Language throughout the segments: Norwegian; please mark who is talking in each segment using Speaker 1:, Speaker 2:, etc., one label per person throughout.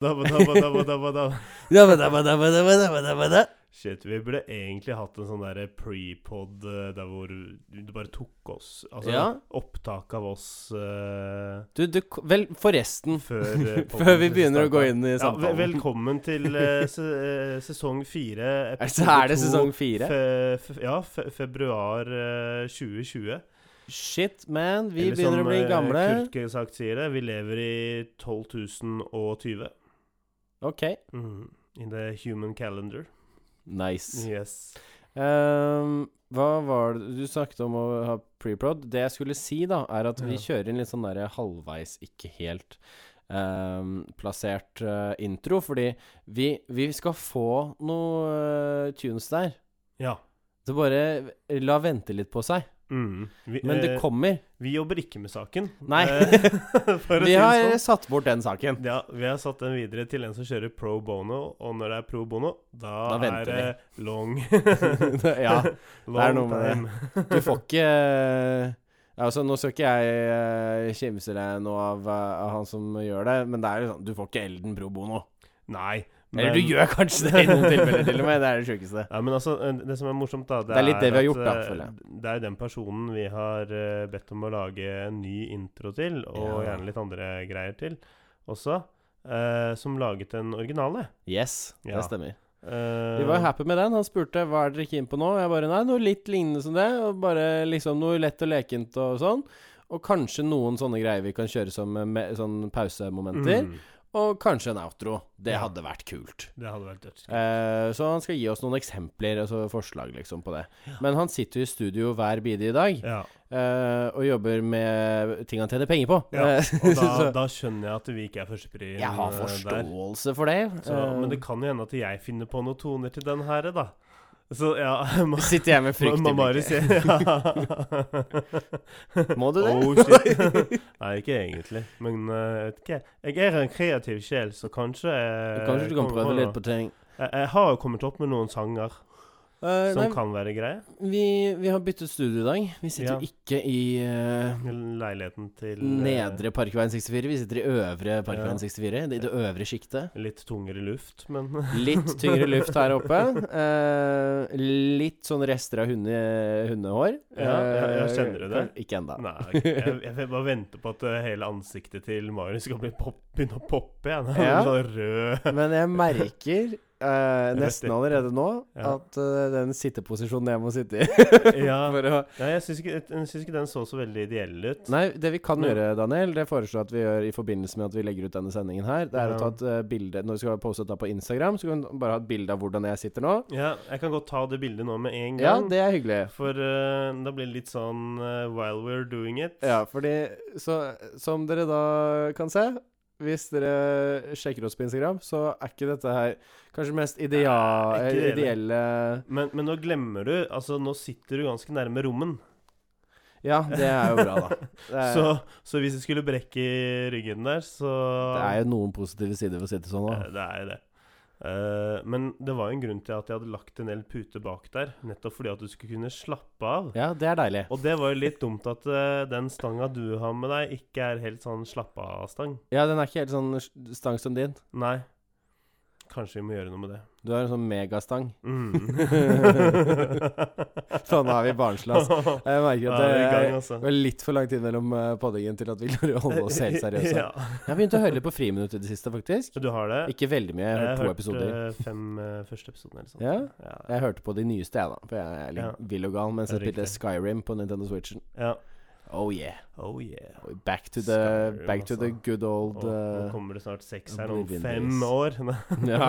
Speaker 1: Dabba, dabba, dabba, dabba, dabba.
Speaker 2: Dabba, dabba, dabba, dabba, dabba, dabba, da.
Speaker 1: Shit, vi burde egentlig hatt en sånn derre pre-pod eh, der hvor du bare tok oss Altså
Speaker 2: Ja.
Speaker 1: opptak av oss eh,
Speaker 2: Du, du, k- vel, forresten.
Speaker 1: før eh, podden
Speaker 2: Før vi
Speaker 1: startet.
Speaker 2: begynner å gå inn
Speaker 1: Ja,
Speaker 2: i
Speaker 1: ve-
Speaker 2: samtalen.
Speaker 1: velkommen til eh, se, eh, sesong fire.
Speaker 2: Er- Så er det
Speaker 1: to,
Speaker 2: sesong fire?
Speaker 1: fe- fe- ja, fe, februar eh, 2020.
Speaker 2: Shit, man. Vi
Speaker 1: Eller
Speaker 2: begynner å
Speaker 1: som,
Speaker 2: bli
Speaker 1: eh,
Speaker 2: gamle.
Speaker 1: Kurtke sagt sier det, vi lever i 12.020.
Speaker 2: Ok,
Speaker 1: Mhm. In the human calendar.
Speaker 2: nice.
Speaker 1: Yes.
Speaker 2: Ehm, hva var det Du snakket om å ha preprod. Det jeg skulle si, da, er at vi
Speaker 1: Ja.
Speaker 2: kjører inn litt sånn derre halvveis, ikke helt ehm, plassert eh, intro, fordi vi, vi skal få noe eh, tunes der.
Speaker 1: Ja.
Speaker 2: Så bare eh, la vente litt på seg.
Speaker 1: Mhm. Vi,
Speaker 2: Men det
Speaker 1: eh,
Speaker 2: kommer.
Speaker 1: Vi jobber ikke med saken.
Speaker 2: Nei.
Speaker 1: Eh, For å
Speaker 2: Vi
Speaker 1: si
Speaker 2: har eh,
Speaker 1: det sånn.
Speaker 2: satt bort den saken.
Speaker 1: Ja, vi har satt den videre til en som kjører pro bono, og når det er pro bono, da,
Speaker 2: Da venter
Speaker 1: er det long
Speaker 2: ja.
Speaker 1: Long
Speaker 2: noe med
Speaker 1: time.
Speaker 2: Du får ikke Altså, nå skal ikke jeg eh, kimse deg noe av, eh, av han som gjør det, men det er jo sånn, du får ikke Elden pro bono.
Speaker 1: Nei.
Speaker 2: Eller du gjør kanskje det i noen tilfeller, til og med. Det er det sjukeste.
Speaker 1: ja, men altså, eh, Det som er morsomt, da
Speaker 2: Det er litt det vi har gjort, da,
Speaker 1: eh,
Speaker 2: føler jeg.
Speaker 1: Det er jo den personen vi har eh, bedt om å lage en ny intro til, og
Speaker 2: Ja.
Speaker 1: gjerne litt andre greier til også, eh, som laget den originale.
Speaker 2: Yes,
Speaker 1: Ja.
Speaker 2: det stemmer.
Speaker 1: Eh,
Speaker 2: Vi var jo happy med den. Han spurte hva er dere keen på nå. Jeg bare nei, noe litt lignende som det. Og bare liksom noe lett og lekent og sånn. Og kanskje noen sånne greier vi kan kjøre som eh, me- sånn pausemomenter.
Speaker 1: Mm,
Speaker 2: Og kanskje en outro. Det
Speaker 1: Ja.
Speaker 2: hadde vært kult.
Speaker 1: det hadde vært dødskult.
Speaker 2: Eh, så han skal gi oss noen eksempler, altså forslag liksom på det. Men han sitter jo i studio hver bidige dag
Speaker 1: Ja.
Speaker 2: eh, og jobber med ting han tjener penger på.
Speaker 1: Ja,
Speaker 2: Eh,
Speaker 1: Og da,
Speaker 2: så
Speaker 1: da skjønner jeg at vi ikke er førsteprien
Speaker 2: jeg har
Speaker 1: eh, der.
Speaker 2: forståelse for det. Eh,
Speaker 1: Så, men det kan jo hende at jeg finner på noen toner til den her, da. Så ja ma-
Speaker 2: Eh, sitter jeg med
Speaker 1: ma-
Speaker 2: frykt i
Speaker 1: Mari
Speaker 2: blikket.
Speaker 1: sier ja.
Speaker 2: Må du det?
Speaker 1: Oh, shit. Nei, ikke egentlig. Men eh, jeg vet ikke. Jeg er en kreativ sjel, så kanskje jeg
Speaker 2: Kanskje du kan
Speaker 1: eh, kommer
Speaker 2: prøve
Speaker 1: noe.
Speaker 2: litt på ting.
Speaker 1: jeg, jeg har jo kommet opp med noen sanger
Speaker 2: Eh,
Speaker 1: som
Speaker 2: nei,
Speaker 1: kan være greie.
Speaker 2: vi, vi har byttet studio i dag. Vi sitter
Speaker 1: Ja.
Speaker 2: jo ikke i eh,
Speaker 1: Leiligheten til eh,
Speaker 2: nedre Parkveien 64, vi sitter i øvre
Speaker 1: Ja.
Speaker 2: Parkveien 64. det- I det øvre sjiktet.
Speaker 1: Litt tungere luft, men
Speaker 2: Litt tyngre luft her oppe. Eh, litt sånn rester av hunde, hundehår. Eh,
Speaker 1: Ja, jeg- jeg kjenner det.
Speaker 2: Kan- Ikke ennå.
Speaker 1: Nei, jeg, jeg vil bare vente på at eh, hele ansiktet til Marius skal bli pop, begynne å poppe igjen. Han
Speaker 2: Ja.
Speaker 1: blir Sånn rød.
Speaker 2: Men jeg merker eh, nesten allerede nå
Speaker 1: Ja.
Speaker 2: at eh, den sitteposisjonen jeg må sitte i
Speaker 1: Ja.
Speaker 2: for å
Speaker 1: Nei, jeg syns ikke, jeg syns ikke den så så veldig ideell ut.
Speaker 2: Nei, det vi kan
Speaker 1: Men-
Speaker 2: gjøre, Daniel, det foreslår jeg at vi gjør i forbindelse med at vi legger ut denne sendingen her, det er
Speaker 1: Ja.
Speaker 2: å ta et eh, bilde Når vi skal poste dette på Instagram, så kan du bare ha et bilde av hvordan jeg sitter nå.
Speaker 1: Ja, jeg kan godt ta det bildet nå med en
Speaker 2: Ja,
Speaker 1: gang.
Speaker 2: det er hyggelig.
Speaker 1: For eh, da blir det litt sånn eh, while we're doing it.
Speaker 2: Ja, fordi så, Som dere da kan se hvis dere sjekker oss på Instagram, så er ikke dette her kanskje mest idea,
Speaker 1: Nei, ikke det
Speaker 2: ideelle
Speaker 1: Men, men nå glemmer du Altså, nå sitter du ganske nærme rommen.
Speaker 2: Ja, det er jo bra, da. Det er,
Speaker 1: Så, så hvis du skulle brekke ryggen der, så
Speaker 2: det er jo noen positive sider ved å sitte sånn
Speaker 1: Ja,
Speaker 2: òg.
Speaker 1: Det er jo det. Eh, men det var jo en grunn til at jeg hadde lagt en del puter bak der, nettopp fordi at du skulle kunne slappe av.
Speaker 2: Ja, det er deilig.
Speaker 1: Og det var jo litt dumt at eh, den stanga du har med deg, ikke er helt sånn slappe av-stang.
Speaker 2: Ja, den er ikke helt sånn stang som din.
Speaker 1: Nei. Kanskje vi må gjøre noe med det.
Speaker 2: Du har en sånn megastang.
Speaker 1: Mm.
Speaker 2: Sånn har vi barnslig, altså. Jeg merker
Speaker 1: Ja, vi er i gang,
Speaker 2: at det er-
Speaker 1: altså.
Speaker 2: det var litt for lang tid mellom eh, poddingen til at vi klarer å holde oss helt seriøse.
Speaker 1: Ja.
Speaker 2: Jeg har begynt å høre litt på Friminutt i det siste, faktisk.
Speaker 1: Du har det?
Speaker 2: Ikke veldig mye, jeg har hørt to episoder.
Speaker 1: eh, fem eh, første episoder eller sånt.
Speaker 2: Ja?
Speaker 1: Ja.
Speaker 2: Jeg hørte på de nyeste, jeg, da. For jeg er litt
Speaker 1: Ja.
Speaker 2: vill og gal mens
Speaker 1: Er det
Speaker 2: jeg spilte
Speaker 1: riktig?
Speaker 2: Skyrim på Nintendo Switchen.
Speaker 1: ja.
Speaker 2: Oh yeah.
Speaker 1: Oh yeah.
Speaker 2: Back to the,
Speaker 1: Skyrim,
Speaker 2: back to the
Speaker 1: altså.
Speaker 2: good old
Speaker 1: Og, nå
Speaker 2: uh,
Speaker 1: kommer det snart seks her om
Speaker 2: Oblivion
Speaker 1: fem
Speaker 2: Days.
Speaker 1: år.
Speaker 2: Ja.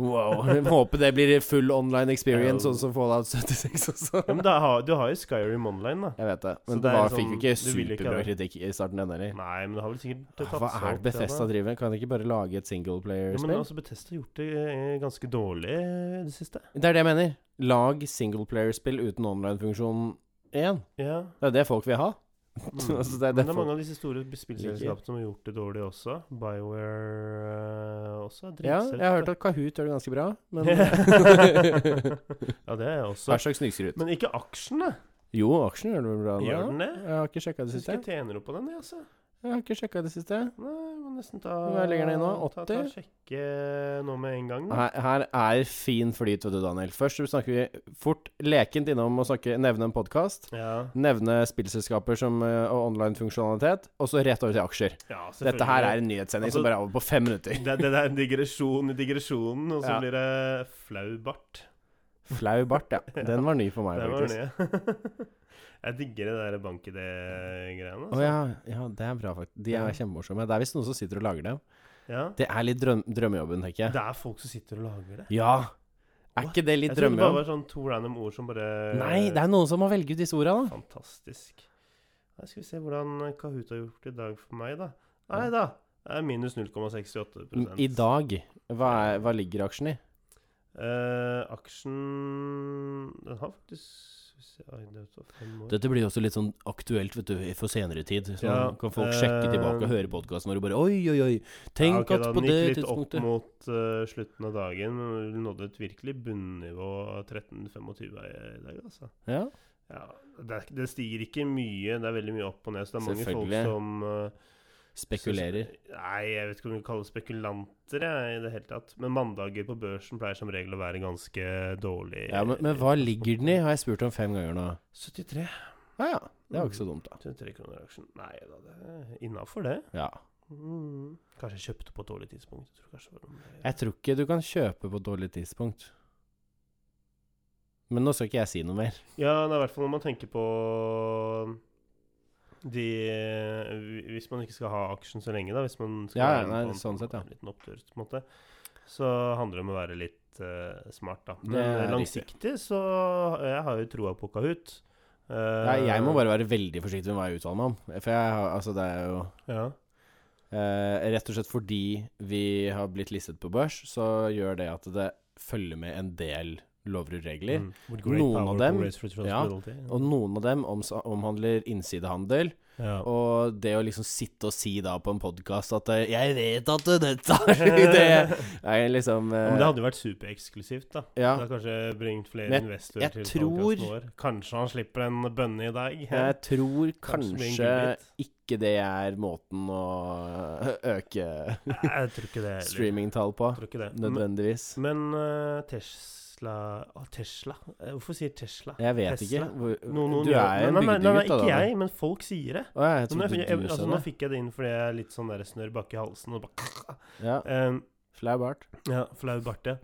Speaker 2: Wow. Jeg Håper det blir full online experience,
Speaker 1: Ja.
Speaker 2: sånn som Fallout 76 også.
Speaker 1: ja, men da har, du har jo Skyrim online, da.
Speaker 2: Jeg vet det.
Speaker 1: Så det
Speaker 2: Men det
Speaker 1: er
Speaker 2: var,
Speaker 1: liksom-
Speaker 2: fikk jo
Speaker 1: du vil
Speaker 2: ikke
Speaker 1: ikke ha
Speaker 2: superbra
Speaker 1: det.
Speaker 2: kritikk i starten, den heller.
Speaker 1: Nei, men det har vel sikkert
Speaker 2: Ah,
Speaker 1: seg
Speaker 2: Hva er
Speaker 1: opp
Speaker 2: det
Speaker 1: til, da.
Speaker 2: Bethesda driver med? Kan de ikke bare lage et
Speaker 1: Ja, men
Speaker 2: singleplayer-spill?
Speaker 1: altså, Bethesda har gjort det eh, ganske dårlig eh, i det siste.
Speaker 2: Det er det jeg mener. Lag singleplayer-spill uten online-funksjon igjen.
Speaker 1: Ja.
Speaker 2: Det er det folk vil ha.
Speaker 1: Mm.
Speaker 2: Altså, det er
Speaker 1: men det
Speaker 2: derfor-
Speaker 1: er mange av disse store spillselskapene som har gjort det dårlig også. Bioware eh, også. er
Speaker 2: Ja,
Speaker 1: dritselt,
Speaker 2: jeg har hørt
Speaker 1: da.
Speaker 2: at Kahoot gjør det ganske bra, men
Speaker 1: ja, det er jeg også.
Speaker 2: Hver slags snikskryt.
Speaker 1: Men ikke aksjene.
Speaker 2: Jo, aksjen gjør det bra nå.
Speaker 1: Gjør den det?
Speaker 2: Jeg har ikke sjekka det
Speaker 1: Jeg syns
Speaker 2: siste.
Speaker 1: ikke jeg tjener opp på den, jeg, altså.
Speaker 2: Ja, Jeg har ikke sjekka i det siste.
Speaker 1: Nei, må nesten ta
Speaker 2: Hva ligger den i nå?
Speaker 1: Ta, ta
Speaker 2: 80?
Speaker 1: sjekke nå med en gang. da.
Speaker 2: Her, her er fin flyt, vet du, Daniel. Først så snakker vi fort lekent innom og snakke, nevne en podkast.
Speaker 1: Ja,
Speaker 2: Nevne spillselskaper som, eh, og online funksjonalitet, og så rett over til aksjer.
Speaker 1: ja selvfølgelig.
Speaker 2: Dette her er en nyhetssending som
Speaker 1: Altså-
Speaker 2: bare er over på fem minutter.
Speaker 1: det, det er en digresjon i digresjonen, og så
Speaker 2: Ja.
Speaker 1: blir det flaubart.
Speaker 2: Flau bart, ja. Den var ny for meg,
Speaker 1: Det var
Speaker 2: faktisk.
Speaker 1: det. Jeg digger det der altså. bank-ID-greiene.
Speaker 2: Å ja, ja, det er bra, faktisk. De
Speaker 1: Ja.
Speaker 2: er kjempemorsomme. Det er visst noen som sitter og lager dem.
Speaker 1: ja.
Speaker 2: Det er litt drøm drømmejobben, tenker jeg.
Speaker 1: Det er folk som sitter og lager det.
Speaker 2: Ja! Er
Speaker 1: What?
Speaker 2: ikke det
Speaker 1: Jeg
Speaker 2: litt
Speaker 1: trodde det bare
Speaker 2: drømmejobb?
Speaker 1: var sånn to random ord som bare
Speaker 2: Nei, det er noen som må velge ut disse orda, da.
Speaker 1: Fantastisk. Nei, skal vi se hvordan Kahoot har gjort i dag for meg, da. Nei da, det er minus 0,68
Speaker 2: I dag, hva, er, hva ligger aksjen i?
Speaker 1: Eh, aksjen Den har faktisk skal vi se, oi, det er jo fem år.
Speaker 2: Dette blir jo også litt sånn aktuelt vet du, for senere tid. Så
Speaker 1: Ja,
Speaker 2: kan folk sjekke
Speaker 1: eh,
Speaker 2: tilbake og høre podkasten og bare Oi, oi, oi. Tenk
Speaker 1: Ja, ok, da,
Speaker 2: at på
Speaker 1: den
Speaker 2: det
Speaker 1: gikk litt opp
Speaker 2: tidspunktet
Speaker 1: mot eh, slutten av dagen, men vi nådde et virkelig bunnivå av 13,25 i dag, altså.
Speaker 2: Ja,
Speaker 1: Ja, det, er, det stiger ikke mye, det er veldig mye opp og ned, så det er mange folk
Speaker 2: Selvfølgelig.
Speaker 1: som eh,
Speaker 2: Spekulerer.
Speaker 1: synes- nei, jeg vet ikke om vi kaller det spekulanter, jeg, i det hele tatt. Men mandager på børsen pleier som regel å være ganske dårlig.
Speaker 2: Ja, men, men hva ligger den i, har jeg spurt om fem ganger nå. Ah,
Speaker 1: 73.
Speaker 2: Ja, ja. Det var ikke så dumt, da.
Speaker 1: 73 kroner aksjen. Nei da, det er innafor det.
Speaker 2: Ja.
Speaker 1: Mm. Kanskje jeg kjøpte på et dårlig tidspunkt. Jeg tror kanskje det var om det-
Speaker 2: Jeg tror ikke du kan kjøpe på et dårlig tidspunkt. Men nå skal ikke jeg si noe mer.
Speaker 1: Ja, det er i hvert fall når man tenker på de Hvis man ikke skal ha aksjen så lenge, da. Hvis man skal
Speaker 2: Ja,
Speaker 1: være
Speaker 2: ja,
Speaker 1: med
Speaker 2: nei,
Speaker 1: på en,
Speaker 2: sånn sett, ja.
Speaker 1: en liten opptur, på en måte, så handler det om å være litt eh, smart, da. Men
Speaker 2: er
Speaker 1: langsiktig så Jeg har jo troa på Kahoot. Eh,
Speaker 2: Jeg, jeg må bare være veldig forsiktig med hva jeg uttaler meg om. For jeg har Altså, det er jo
Speaker 1: ja.
Speaker 2: Eh, rett og slett fordi vi har blitt listet på børs, så gjør det at det følger med en del lover og regler.
Speaker 1: Mm. With great
Speaker 2: Noen av
Speaker 1: power
Speaker 2: dem-
Speaker 1: comes great responsibility.
Speaker 2: Og noen av dem oms- omhandler innsidehandel.
Speaker 1: ja.
Speaker 2: Og det å liksom sitte og si da på en podkast at eh, 'Jeg vet at det- dette er det er liksom
Speaker 1: Ja,
Speaker 2: eh,
Speaker 1: men det hadde jo vært supereksklusivt, da.
Speaker 2: ja.
Speaker 1: Det har kanskje bringt flere
Speaker 2: Men jeg-
Speaker 1: investorer
Speaker 2: jeg
Speaker 1: til
Speaker 2: tror-
Speaker 1: podcasten vår. Kanskje han slipper en bønne i dag.
Speaker 2: Jeg tror
Speaker 1: Kanskje blir en
Speaker 2: kanskje
Speaker 1: godbit.
Speaker 2: ikke det er måten å øke
Speaker 1: Nei, jeg tror ikke det. heller.
Speaker 2: streamingtall på.
Speaker 1: Jeg tror ikke det. Men,
Speaker 2: Nødvendigvis.
Speaker 1: men eh, Tesla Å, Tesla? Eh, Hvorfor sier Tesla?
Speaker 2: Jeg vet
Speaker 1: Tesla.
Speaker 2: ikke. Hvor,
Speaker 1: Noen, noen
Speaker 2: du
Speaker 1: gjør-
Speaker 2: er en
Speaker 1: Nei, nei, nei, nei,
Speaker 2: bygdegutt, da.
Speaker 1: Ikke
Speaker 2: Daniel.
Speaker 1: jeg, men folk sier det.
Speaker 2: Å ja, jeg
Speaker 1: Men jeg,
Speaker 2: trodde
Speaker 1: jeg,
Speaker 2: du
Speaker 1: altså,
Speaker 2: sa
Speaker 1: nå
Speaker 2: det.
Speaker 1: fikk jeg det inn fordi jeg er litt sånn der snørr bak i halsen. Og bare,
Speaker 2: Ja,
Speaker 1: Eh,
Speaker 2: flau bart.
Speaker 1: ja, flau bart, ja.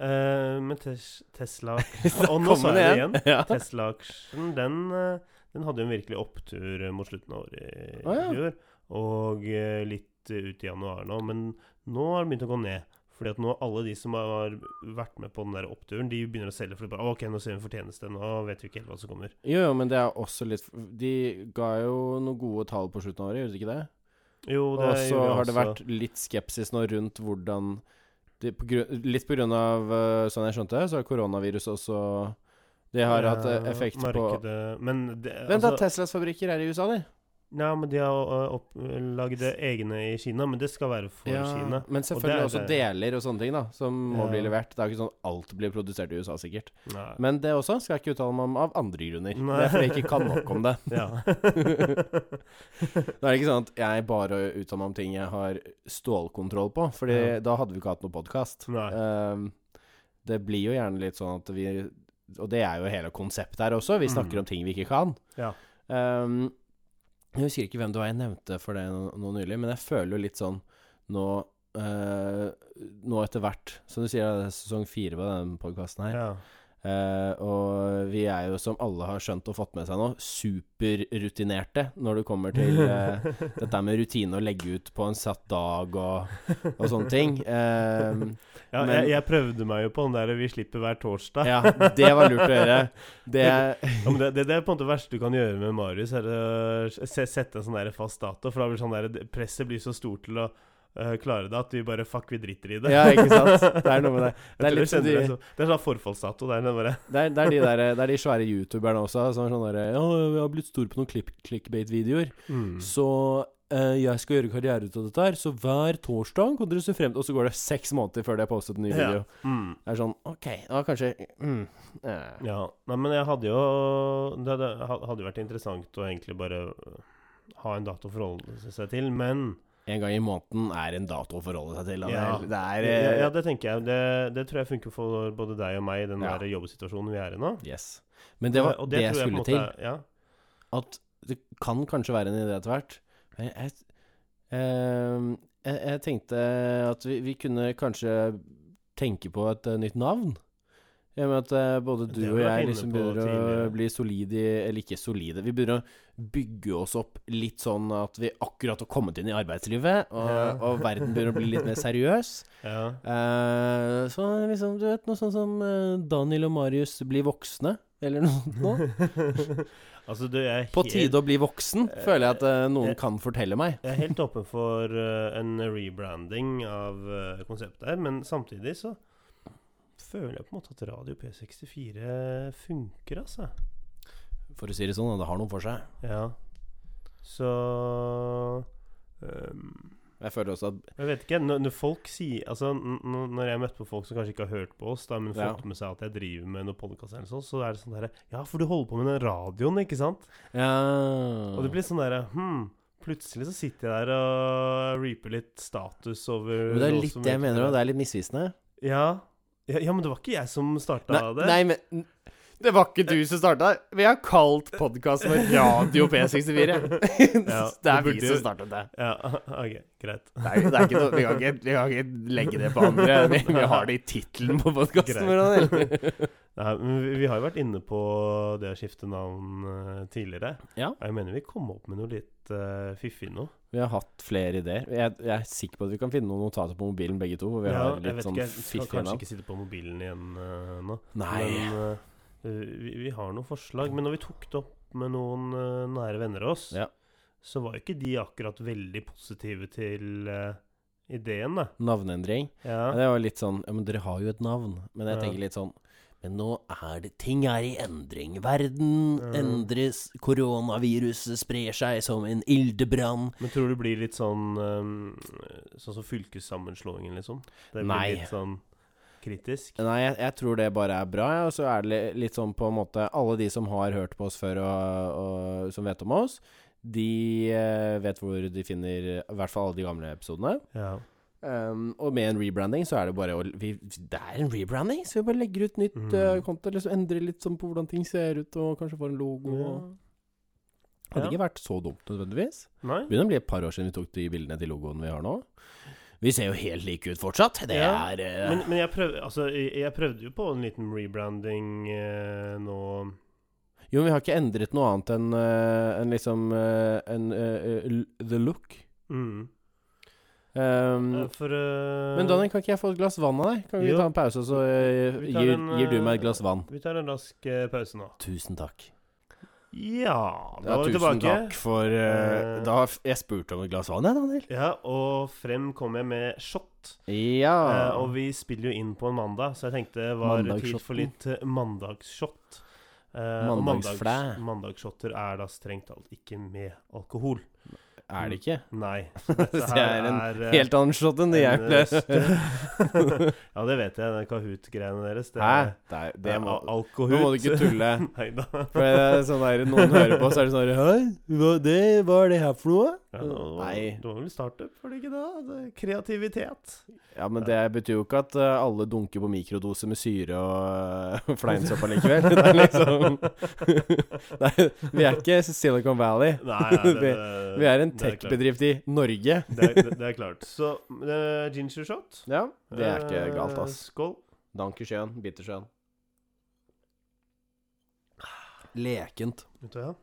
Speaker 1: Eh, men tes Tesla
Speaker 2: Da
Speaker 1: Og nå
Speaker 2: kom
Speaker 1: sa
Speaker 2: den
Speaker 1: jeg det igjen.
Speaker 2: Ja.
Speaker 1: Tesla-aksjen, den, eh, den hadde jo en virkelig opptur eh, mot slutten av året i
Speaker 2: Å, ja.
Speaker 1: fjor. Og eh, litt eh, ut i januar nå. Men nå har det begynt å gå ned. Fordi at nå alle de som har vært med på den der oppturen, de begynner å selge. For det bare, ok, nå ser vi fortjeneste, nå vet vi ikke helt hva som kommer.
Speaker 2: Jo, jo, men det er også litt De ga jo noen gode tall på slutten av året, gjorde de ikke det?
Speaker 1: Jo, det
Speaker 2: Og så
Speaker 1: gjorde jeg
Speaker 2: har det
Speaker 1: også.
Speaker 2: vært litt skepsis nå rundt hvordan det, på grunn, Litt på grunn av, øh, sånn jeg skjønte, så har koronaviruset også Det har hatt
Speaker 1: Ja,
Speaker 2: eh, effekt på
Speaker 1: markedet- Men det,
Speaker 2: Vent, da.
Speaker 1: altså,
Speaker 2: Teslas fabrikker er i USA, de.
Speaker 1: Nei, men de har eh, opp- lagd egne i Kina, men det skal være for Kina.
Speaker 2: Men selvfølgelig
Speaker 1: Og det
Speaker 2: også
Speaker 1: er det.
Speaker 2: deler og sånne ting, da, som må
Speaker 1: Ja.
Speaker 2: bli levert. Det er jo ikke sånn alt blir produsert i USA, sikkert.
Speaker 1: Nei.
Speaker 2: Men det også skal jeg ikke uttale meg om av andre grunner.
Speaker 1: Nei.
Speaker 2: Det er fordi jeg ikke kan nok om det.
Speaker 1: Ja.
Speaker 2: Da er det ikke sånn at jeg bare uttaler meg om ting jeg har stålkontroll på, Fordi
Speaker 1: Ja.
Speaker 2: da hadde vi ikke hatt noen podkast.
Speaker 1: Nei.
Speaker 2: det blir jo gjerne litt sånn at vi Og det er jo hele konseptet her også, vi snakker
Speaker 1: Mm.
Speaker 2: om ting vi ikke kan.
Speaker 1: Ja.
Speaker 2: Ehm, jeg husker ikke hvem det var jeg nevnte for det nå, nå nylig, men jeg føler jo litt sånn nå eh, Nå etter hvert, som du sier, det er sesong fire på den podkasten her.
Speaker 1: ja.
Speaker 2: Eh, og vi er jo, som alle har skjønt og fått med seg nå, superrutinerte når det kommer til eh, dette med rutine å legge ut på en satt dag og, og sånne ting. Eh,
Speaker 1: Ja,
Speaker 2: Men-
Speaker 1: jeg, jeg prøvde meg jo på den der 'vi slipper hver torsdag'.
Speaker 2: ja, det var lurt å gjøre. Det
Speaker 1: Ja, men det, det, det er på en måte det verste du kan gjøre med Marius, er å se- sette en sånn der fast dato. For da blir sånn der, det- presset blir så stort til å eh, klare det at vi bare Fuck, vi driter i det.
Speaker 2: Ja, ikke sant? Det er noe med det.
Speaker 1: Jeg
Speaker 2: Det
Speaker 1: tror
Speaker 2: er litt
Speaker 1: jeg
Speaker 2: som
Speaker 1: kjenner
Speaker 2: de-
Speaker 1: det, så, det er sånn forfallsdato. Det er den bare
Speaker 2: Det er, det, er de der, det er de svære youtuberne også som er sånn derre Ja, jeg har blitt stor på noen klipp- clickbait-videoer,
Speaker 1: Mm.
Speaker 2: så eh, jeg skal gjøre karriere ut av dette her, så hver torsdag kan dere se frem til Og så går det seks måneder før de har postet en ny Sånn video.
Speaker 1: ja. Mm.
Speaker 2: Det er sånn OK, da kanskje mm, eh.
Speaker 1: Ja, nei, men jeg hadde jo Det hadde, ha- hadde jo vært interessant å egentlig bare ha en dato å forholde seg til, men
Speaker 2: En gang i måneden er en dato å forholde seg til. og Det
Speaker 1: Ja.
Speaker 2: er, det er
Speaker 1: ja,
Speaker 2: eh,
Speaker 1: ja, det tenker jeg. Det, det tror jeg funker for både deg og meg i den
Speaker 2: Ja.
Speaker 1: der jobbsituasjonen vi er i nå.
Speaker 2: eh, Yes. Men det var
Speaker 1: Eh, og
Speaker 2: det jeg
Speaker 1: tror på
Speaker 2: skulle
Speaker 1: en
Speaker 2: til.
Speaker 1: måte er- Ja.
Speaker 2: At det kan kanskje være en idé etter hvert. Men jeg, ehm, jeg, jeg tenkte at vi, vi kunne kanskje tenke på et eh, nytt navn. I og med at eh, både
Speaker 1: Det
Speaker 2: du
Speaker 1: har
Speaker 2: og
Speaker 1: vi vært
Speaker 2: jeg
Speaker 1: inne
Speaker 2: liksom
Speaker 1: på
Speaker 2: begynner å
Speaker 1: tidligere.
Speaker 2: bli solide i Eller ikke solide, vi begynner å bygge oss opp litt sånn at vi akkurat har kommet inn i arbeidslivet, og,
Speaker 1: Ja.
Speaker 2: og verden begynner å bli litt mer seriøs.
Speaker 1: ja.
Speaker 2: Eh, så liksom, du vet, noe sånn som eh, Daniel og Marius blir voksne, eller noe sånt noe.
Speaker 1: altså, du, jeg er
Speaker 2: På
Speaker 1: helt-
Speaker 2: tide å bli voksen, føler jeg at eh, noen
Speaker 1: Eh,
Speaker 2: kan fortelle meg.
Speaker 1: Jeg er helt åpen for eh, en rebranding av eh, konseptet her, men samtidig så føler jeg på en måte at Radio P64 funker, altså.
Speaker 2: For å si det sånn, det har noe for seg.
Speaker 1: Ja. Så ehm,
Speaker 2: Jeg føler også at
Speaker 1: Jeg vet ikke. Når, når folk sier Altså, n- n- når jeg møtte på folk som kanskje ikke har hørt på oss, da, men
Speaker 2: Ja.
Speaker 1: fått med seg at jeg driver med noen podkast eller sånn, så er det sånn derre Ja, for du holder på med den radioen, ikke sant?
Speaker 2: ja.
Speaker 1: Og
Speaker 2: Mm.
Speaker 1: det blir sånn derre Hm. Plutselig så sitter jeg der og reaper litt status over
Speaker 2: Men det er
Speaker 1: noe
Speaker 2: litt
Speaker 1: som
Speaker 2: det jeg mener,
Speaker 1: ikke-
Speaker 2: og det er litt misvisende.
Speaker 1: Ja. ja. Ja, men det var ikke jeg som starta
Speaker 2: Nei,
Speaker 1: det.
Speaker 2: nei, men Det var ikke du som starta. Vi har kalt podkasten vår Radio P64.
Speaker 1: Ja,
Speaker 2: det
Speaker 1: det
Speaker 2: er vi
Speaker 1: burde-
Speaker 2: som startet det.
Speaker 1: Ja, ok, greit.
Speaker 2: Det er, det er ikke noe, vi, kan ikke, vi kan ikke legge det på andre. Vi, vi har det i tittelen på podkasten vår. Daniel.
Speaker 1: Nei, men vi, vi har jo vært inne på det å skifte navn eh, tidligere.
Speaker 2: Ja.
Speaker 1: Og Jeg mener vi kom opp med noe litt eh, fiffig nå.
Speaker 2: Vi har hatt flere ideer. Jeg, jeg er sikker på at vi kan finne noen notater på mobilen, begge to. Hvor vi
Speaker 1: Ja,
Speaker 2: har
Speaker 1: jeg
Speaker 2: litt
Speaker 1: vet
Speaker 2: sånn
Speaker 1: ikke, jeg skal
Speaker 2: fiffige
Speaker 1: kanskje
Speaker 2: navn.
Speaker 1: ikke sitte på mobilen igjen eh, nå.
Speaker 2: Nei.
Speaker 1: Men eh, vi, vi har noen forslag. Men når vi tok det opp med noen eh, nære venner av oss,
Speaker 2: Ja.
Speaker 1: så var jo ikke de akkurat veldig positive til eh, ideen, da.
Speaker 2: Navneendring. Ja,
Speaker 1: Ja.
Speaker 2: det var litt sånn Ja, men dere har jo et navn. Men jeg
Speaker 1: Ja.
Speaker 2: tenker litt sånn Men nå er det Ting er i endring. Verden
Speaker 1: Ja.
Speaker 2: endres. Koronaviruset sprer seg som en ildebrann.
Speaker 1: Men tror du det blir litt sånn ehm, Sånn som fylkessammenslåingen, liksom? Det blir
Speaker 2: Nei.
Speaker 1: litt sånn kritisk?
Speaker 2: Nei, jeg, jeg tror det bare er bra. Ja. Og så er det li- litt sånn på en måte Alle de som har hørt på oss før, og, og som vet om oss, de eh, vet hvor de finner i hvert fall alle de gamle episodene.
Speaker 1: Ja.
Speaker 2: Um, og med en rebranding så er det bare å vi, Det er en rebranding, så vi bare legger ut nytt
Speaker 1: Mm.
Speaker 2: eh, konto. Liksom endrer litt sånn på hvordan ting ser ut, og kanskje får en logo. og- Hadde
Speaker 1: Ja.
Speaker 2: ikke vært så dumt nødvendigvis.
Speaker 1: Nei?
Speaker 2: Begynner å bli et par år siden vi tok de bildene til logoen vi har nå. Vi ser jo helt like ut fortsatt. Det
Speaker 1: Ja,
Speaker 2: er eh,
Speaker 1: Men, men jeg, prøv, altså, jeg, jeg prøvde jo på en liten rebranding eh, nå
Speaker 2: Jo, men vi har ikke endret noe annet enn eh, enn liksom eh, enn, eh, l- the look.
Speaker 1: mm.
Speaker 2: Um,
Speaker 1: Eh, For eh,
Speaker 2: men Daniel, kan ikke jeg få et glass vann av deg? Kan vi
Speaker 1: Jo.
Speaker 2: ta en pause, og så eh,
Speaker 1: Vi tar
Speaker 2: gir,
Speaker 1: en,
Speaker 2: gir du meg
Speaker 1: eh,
Speaker 2: et glass vann?
Speaker 1: Vi tar en rask eh, pause nå.
Speaker 2: Tusen takk.
Speaker 1: Ja, da
Speaker 2: Ja,
Speaker 1: var vi
Speaker 2: tusen
Speaker 1: tilbake.
Speaker 2: takk for eh,
Speaker 1: Eh,
Speaker 2: Da f- jeg spurte om et glass vann, jeg, Daniel.
Speaker 1: Ja, og frem kom jeg med shot.
Speaker 2: Ja.
Speaker 1: Eh, og vi spiller jo inn på en mandag, så jeg tenkte det var tid
Speaker 2: Mandagsshotten.
Speaker 1: for litt eh, mandagsshot. Eh, og
Speaker 2: Mandagsflæ.
Speaker 1: mandags- Mandagsshotter er da strengt talt ikke med alkohol.
Speaker 2: er det ikke?
Speaker 1: Nei. Så
Speaker 2: Det
Speaker 1: dette her
Speaker 2: er en
Speaker 1: eh,
Speaker 2: helt annen shot enn det jeg
Speaker 1: en, eh,
Speaker 2: ble.
Speaker 1: stø- ja, det vet jeg, den Kahoot-greiene deres. Det,
Speaker 2: Hæ? Det, er-
Speaker 1: det
Speaker 2: det
Speaker 1: er
Speaker 2: må,
Speaker 1: al- alkohol.
Speaker 2: nå må du ikke tulle.
Speaker 1: Nei da.
Speaker 2: For det er sånn der, noen hører på, så er det sånn Hei, hva, det, hva er det her for noe?
Speaker 1: Ja, nå-
Speaker 2: Nei.
Speaker 1: Det var vel startup, var det ikke det? det? Kreativitet.
Speaker 2: Ja, men det betyr jo ikke at eh, alle dunker på mikrodose med syre og uh, fleinsopp allikevel. Det er liksom det er, Vi er ikke Silicon Valley.
Speaker 1: Nei, nei, det,
Speaker 2: Vi-
Speaker 1: det-
Speaker 2: Vi er en
Speaker 1: det klart.
Speaker 2: tech-bedrift i Norge.
Speaker 1: Det, er- det, det er klart. Så eh, ginger shot.
Speaker 2: Ja, det er ikke
Speaker 1: Eh,
Speaker 2: galt, ass.
Speaker 1: Skål.
Speaker 2: Dankeschön, bittersjøen. Lekent.
Speaker 1: Vet du hva?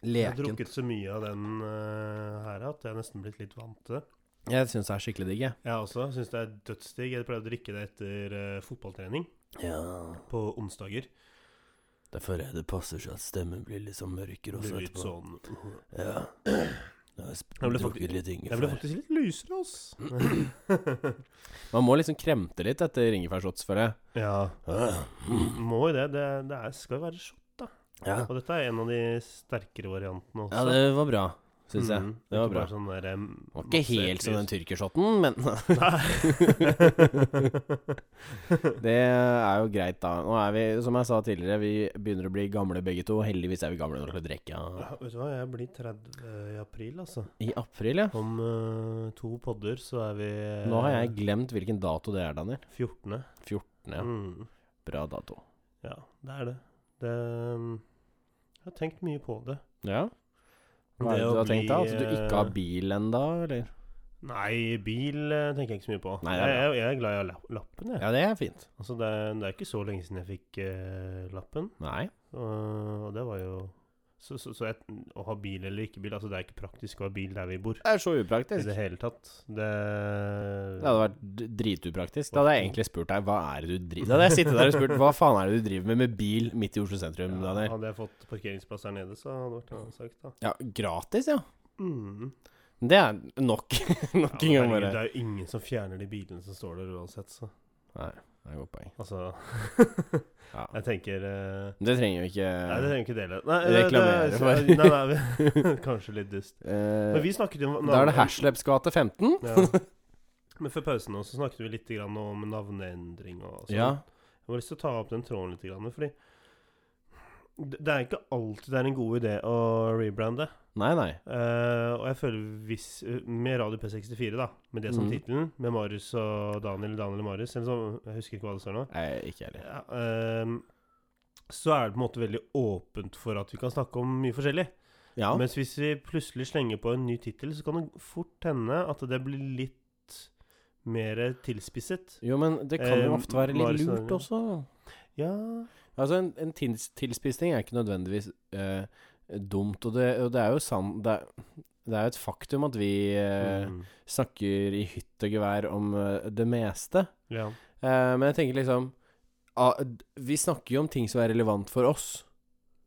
Speaker 1: Jeg har
Speaker 2: Lekent.
Speaker 1: drukket så mye av den eh, her at jeg er nesten blitt litt vant til det.
Speaker 2: Jeg syns det er skikkelig digg, jeg.
Speaker 1: Jeg også syns det er dødsdigg. Jeg pleier å drikke det etter eh, fotballtrening
Speaker 2: Ja.
Speaker 1: på onsdager.
Speaker 2: Det føler jeg det passer seg at stemmen blir litt sånn mørkere
Speaker 1: Blir litt sånn
Speaker 2: Ja. Jeg har
Speaker 1: Jeg ble drukket faktisk-
Speaker 2: litt
Speaker 1: Jeg ble faktisk litt lysere, ass.
Speaker 2: Man må liksom kremte litt etter ingefærshots, føler jeg.
Speaker 1: ja,
Speaker 2: Ja.
Speaker 1: må jo det. Det, det er, skal jo være shot. Og dette er en av de sterkere variantene også.
Speaker 2: ja, det var bra. syns jeg.
Speaker 1: Mm,
Speaker 2: Det var
Speaker 1: ikke
Speaker 2: bra.
Speaker 1: bare Sånn der, em,
Speaker 2: Det var ikke
Speaker 1: masse
Speaker 2: helt som den
Speaker 1: etterlys.
Speaker 2: tyrkershotten, men det er jo greit, da. Nå er vi, som jeg sa tidligere, vi begynner å bli gamle begge to. Heldigvis er vi gamle nok til å drikke.
Speaker 1: Ja, Vet du hva, jeg blir 30 i april, altså.
Speaker 2: I april, ja.
Speaker 1: Om eh, to podder så er vi eh,
Speaker 2: Nå har jeg glemt hvilken dato det er, Daniel.
Speaker 1: 14.
Speaker 2: 14. Ja.
Speaker 1: Mm.
Speaker 2: Bra dato.
Speaker 1: Ja, det er det. Det mm, Jeg har tenkt mye på det.
Speaker 2: Ja. Hva er
Speaker 1: Det
Speaker 2: det
Speaker 1: å
Speaker 2: du har
Speaker 1: bli,
Speaker 2: tenkt da? At du
Speaker 1: eh,
Speaker 2: ikke har bil ennå, eller?
Speaker 1: Nei, bil eh, tenker jeg ikke så mye på.
Speaker 2: Nei, det er
Speaker 1: jeg, jeg, jeg er glad i la- lappen, jeg.
Speaker 2: Ja, det er fint.
Speaker 1: Altså, det, er- det er ikke så lenge siden jeg fikk eh, lappen.
Speaker 2: Nei.
Speaker 1: Og, og det var jo Så, så, så jeg, å ha bil eller ikke bil Altså, det er ikke praktisk å ha bil der vi bor.
Speaker 2: Det er så
Speaker 1: I
Speaker 2: upraktisk.
Speaker 1: det hele tatt. Det
Speaker 2: Det hadde vært d- dritupraktisk. Da hadde jeg egentlig spurt deg hva er det du driver Da hadde jeg sittet der og spurt hva faen er det du driver med med bil midt i Oslo sentrum,
Speaker 1: ja,
Speaker 2: Daniel.
Speaker 1: Hadde jeg fått parkeringsplass her nede, så hadde det vært en annen sak, da.
Speaker 2: Ja, gratis, ja.
Speaker 1: Mm.
Speaker 2: Det er nok.
Speaker 1: Ja,
Speaker 2: nok
Speaker 1: men
Speaker 2: en gang
Speaker 1: herregud,
Speaker 2: bare.
Speaker 1: det er jo ingen som fjerner de bilene som står der uansett, så
Speaker 2: Nei, det er et godt poeng.
Speaker 1: altså
Speaker 2: Ja.
Speaker 1: Jeg tenker eh,
Speaker 2: Men Det trenger jo ikke
Speaker 1: Nei, det trenger ikke dele. Nei,
Speaker 2: Reklamere
Speaker 1: det-
Speaker 2: for.
Speaker 1: Nei, nei, vi- kanskje litt dust. Men
Speaker 2: eh,
Speaker 1: vi snakket jo om
Speaker 2: Da er det Hersleps gate 15.
Speaker 1: Ja. Men før pausen nå så snakket vi litt grann om navneendring og sånn.
Speaker 2: Ja.
Speaker 1: Jeg har lyst til å ta opp den tråden litt, grann, fordi det det er ikke alltid det er en god idé å rebrande.
Speaker 2: Nei, nei.
Speaker 1: Eh, og jeg føler hvis Med Radio P64, da, med det som
Speaker 2: Mhm.
Speaker 1: tittelen, med Marius og Daniel, Daniel og Marius, eller sånn, jeg husker ikke hva det står nå,
Speaker 2: nei ikke heller.
Speaker 1: ja, ehm, så er det på en måte veldig åpent for at vi kan snakke om mye forskjellig.
Speaker 2: Ja.
Speaker 1: Mens hvis vi plutselig slenger på en ny tittel, så kan det fort hende at det blir litt mer tilspisset.
Speaker 2: Jo, men det kan
Speaker 1: Eh,
Speaker 2: jo ofte være litt
Speaker 1: Marius og
Speaker 2: lurt
Speaker 1: Daniel.
Speaker 2: også.
Speaker 1: Ja
Speaker 2: Altså, en, en tils tilspissing er ikke nødvendigvis eh, dumt, og det, og det er jo sant det, er- det er jo et faktum at vi eh,
Speaker 1: mm,
Speaker 2: snakker i hytt og gevær om eh, det meste.
Speaker 1: Ja.
Speaker 2: Eh, men jeg tenker liksom ah, d- Vi snakker jo om ting som er relevant for oss,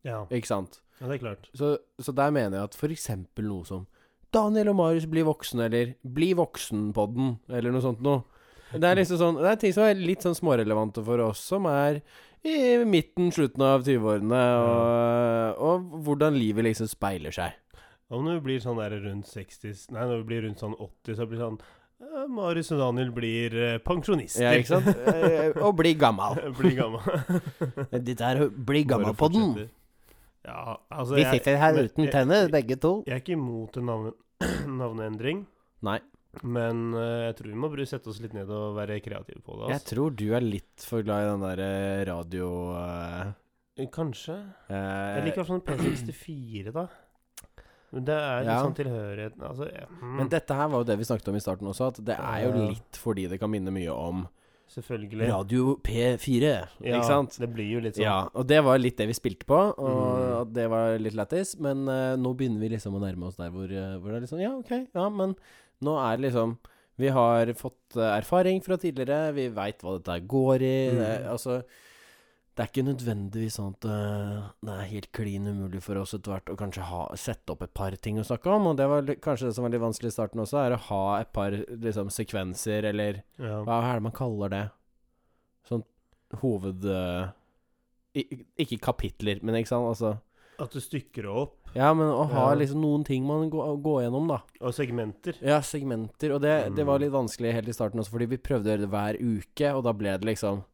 Speaker 1: Ja,
Speaker 2: ikke sant?
Speaker 1: ja, det er klart.
Speaker 2: Så, så der mener jeg at for eksempel noe som Daniel og Marius blir voksne, eller Bli voksen-podden, eller noe sånt noe. Det er liksom sånn Det er ting som er litt sånn smårelevante for oss, som er i midten, slutten av 20-årene, og, og hvordan livet liksom speiler seg.
Speaker 1: Og når vi blir sånn der rundt 60 Nei, når vi blir rundt sånn 80, så blir det sånn eh, Marius og Daniel blir eh, pensjonister.
Speaker 2: Ja, ikke sant? Eh, Og bli gammal.
Speaker 1: blir gammal.
Speaker 2: Dette er Bli
Speaker 1: Bare
Speaker 2: gammal-podden.
Speaker 1: fortsetter. Ja, altså
Speaker 2: Vi
Speaker 1: jeg,
Speaker 2: sitter her
Speaker 1: men-
Speaker 2: uten
Speaker 1: jeg-
Speaker 2: tenner, begge to.
Speaker 1: jeg er ikke imot en navn, navneendring,
Speaker 2: Nei.
Speaker 1: men eh, jeg tror vi må bare sette oss litt ned og være kreative på det.
Speaker 2: Jeg
Speaker 1: Altså.
Speaker 2: tror du er litt for glad i den der eh, radio... eh,
Speaker 1: Kanskje.
Speaker 2: eh,
Speaker 1: Jeg liker sånn P64, da. Men det er litt
Speaker 2: Ja.
Speaker 1: sånn tilhørigheten Altså jeg, mm,
Speaker 2: Men dette her var jo det vi snakket om i starten også, at det er jo
Speaker 1: Ja.
Speaker 2: litt fordi det kan minne mye om
Speaker 1: Selvfølgelig.
Speaker 2: Radio P4,
Speaker 1: Ja,
Speaker 2: ikke sant?
Speaker 1: Det blir jo litt sånn.
Speaker 2: Ja, og det var litt det vi spilte på, og
Speaker 1: Mm.
Speaker 2: at det var litt lættis. Men eh, nå begynner vi liksom å nærme oss der hvor, eh, hvor det er litt sånn Ja, ok, ja, men nå er det liksom Vi har fått eh, erfaring fra tidligere, vi veit hva dette her går i.
Speaker 1: Mm.
Speaker 2: Det, altså det er ikke nødvendigvis sånn at eh, det er helt klin umulig for oss etter hvert å kanskje ha, sette opp et par ting å snakke om, og det var li- kanskje det som var litt vanskelig i starten også, er å ha et par liksom, sekvenser, eller
Speaker 1: Ja.
Speaker 2: hva er det man kaller det? Sånn hoved... eh, i- Ikke kapitler, men ikke sant, altså
Speaker 1: At du stykker det opp.
Speaker 2: Ja, men å ha
Speaker 1: Ja.
Speaker 2: liksom noen ting man går, går gjennom, da.
Speaker 1: Og segmenter.
Speaker 2: Ja, segmenter, og det, det var
Speaker 1: Mm.
Speaker 2: litt vanskelig helt i starten også, fordi vi prøvde å gjøre det hver uke, og da ble det liksom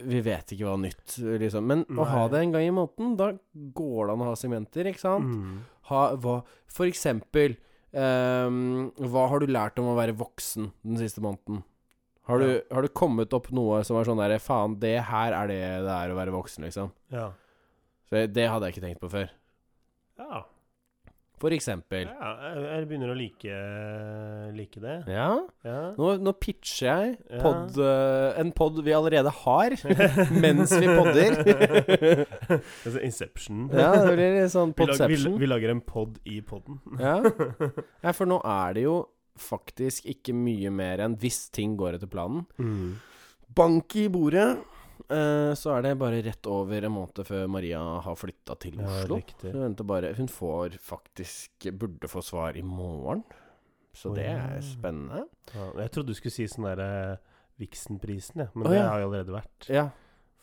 Speaker 2: Vi vet ikke hva nytt, liksom. Men å ha
Speaker 1: Nei.
Speaker 2: det en gang i måneden, da går det an å ha segmenter, ikke sant?
Speaker 1: Mm.
Speaker 2: Ha hva For eksempel ehm, Hva har du lært om å være voksen den siste måneden? Har du, har du kommet opp noe som er sånn derre Faen, det her er det det er å være voksen, liksom.
Speaker 1: Ja.
Speaker 2: Så det hadde jeg ikke tenkt på før.
Speaker 1: ja.
Speaker 2: For eksempel.
Speaker 1: ja jeg, jeg begynner å like, like det.
Speaker 2: Ja?
Speaker 1: Ja.
Speaker 2: Nå, nå pitcher jeg
Speaker 1: Ja.
Speaker 2: podd, eh, en pod vi allerede har, mens vi podder.
Speaker 1: Altså Inception.
Speaker 2: ja, det blir litt sånn
Speaker 1: vi, lager, vi,
Speaker 2: podception.
Speaker 1: vi lager en pod i poden.
Speaker 2: Ja. ja, for nå er det jo faktisk ikke mye mer enn hvis ting går etter planen. Bank i bordet, eh, så er det bare rett over en måned før Maria har flytta til Oslo.
Speaker 1: riktig.
Speaker 2: Hun venter bare Hun får faktisk Burde få svar i morgen. Så
Speaker 1: Å,
Speaker 2: det
Speaker 1: ja.
Speaker 2: er spennende.
Speaker 1: Ja, jeg trodde du skulle si sånn derre Vixen-prisen, ja. men
Speaker 2: Å,
Speaker 1: det
Speaker 2: ja.
Speaker 1: har jo allerede vært.
Speaker 2: Ja,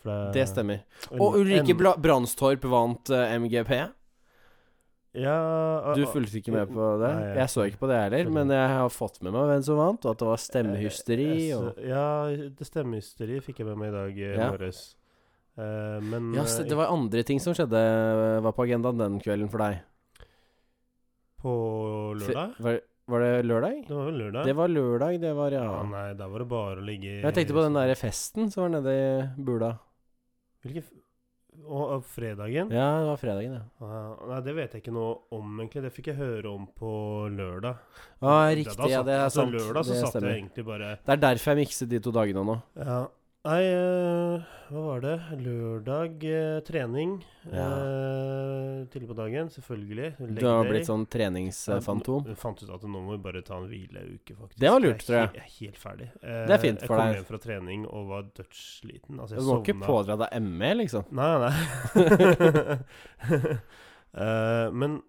Speaker 1: For
Speaker 2: det stemmer.
Speaker 1: Eh, en-
Speaker 2: Og Ulrikke
Speaker 1: en-
Speaker 2: Bla- Brandstorp vant eh, MGP.
Speaker 1: Ja,
Speaker 2: Du fulgte ikke med på det?
Speaker 1: Nei, jeg-
Speaker 2: Jeg så ikke på det heller, men jeg har fått med meg hvem som vant, og at det var stemmehysteri. Og...
Speaker 1: Eh, Ja, det stemmehysteriet fikk jeg med meg i dag eh,
Speaker 2: Ja.
Speaker 1: morges. Eh, men
Speaker 2: Ja, så det var andre ting som skjedde, var på agendaen den kvelden for deg.
Speaker 1: på lørdag?
Speaker 2: Var, var det lørdag?
Speaker 1: Det var vel lørdag?
Speaker 2: Det var lørdag, det var, ja.
Speaker 1: ja, nei, da var det bare å ligge i
Speaker 2: Jeg tenkte på den derre festen som var nede i Bula.
Speaker 1: Hvilken f- Å, å, fredagen?
Speaker 2: Ja, det var fredagen, ja.
Speaker 1: Ah, nei, det vet jeg ikke noe om, egentlig. Det fikk jeg høre om på lørdag.
Speaker 2: Ja,
Speaker 1: Da
Speaker 2: Ah, riktig,
Speaker 1: satt-
Speaker 2: ja, det er
Speaker 1: altså,
Speaker 2: sant.
Speaker 1: Lørdag så
Speaker 2: det
Speaker 1: satt jeg
Speaker 2: stemmer.
Speaker 1: egentlig bare
Speaker 2: Det er derfor jeg mikset de to dagene nå.
Speaker 1: Ja. Nei, eh, hva var det? Lørdag, eh, trening. eh, tidlig på dagen, selvfølgelig. Leg
Speaker 2: Du har
Speaker 1: day.
Speaker 2: blitt sånn
Speaker 1: Ja,
Speaker 2: treningsfantom.
Speaker 1: nå- Jeg fant ut at nå må vi bare ta en hvileuke, faktisk.
Speaker 2: Det var lurt,
Speaker 1: jeg. er
Speaker 2: tror
Speaker 1: he- Jeg er helt ferdig. Eh,
Speaker 2: Det er fint for
Speaker 1: Jeg kom
Speaker 2: deg.
Speaker 1: hjem fra trening og var dødssliten. Altså,
Speaker 2: Du
Speaker 1: jeg
Speaker 2: må ikke
Speaker 1: sovna.
Speaker 2: pådra deg ME, liksom.
Speaker 1: Nei, nei. Eh, men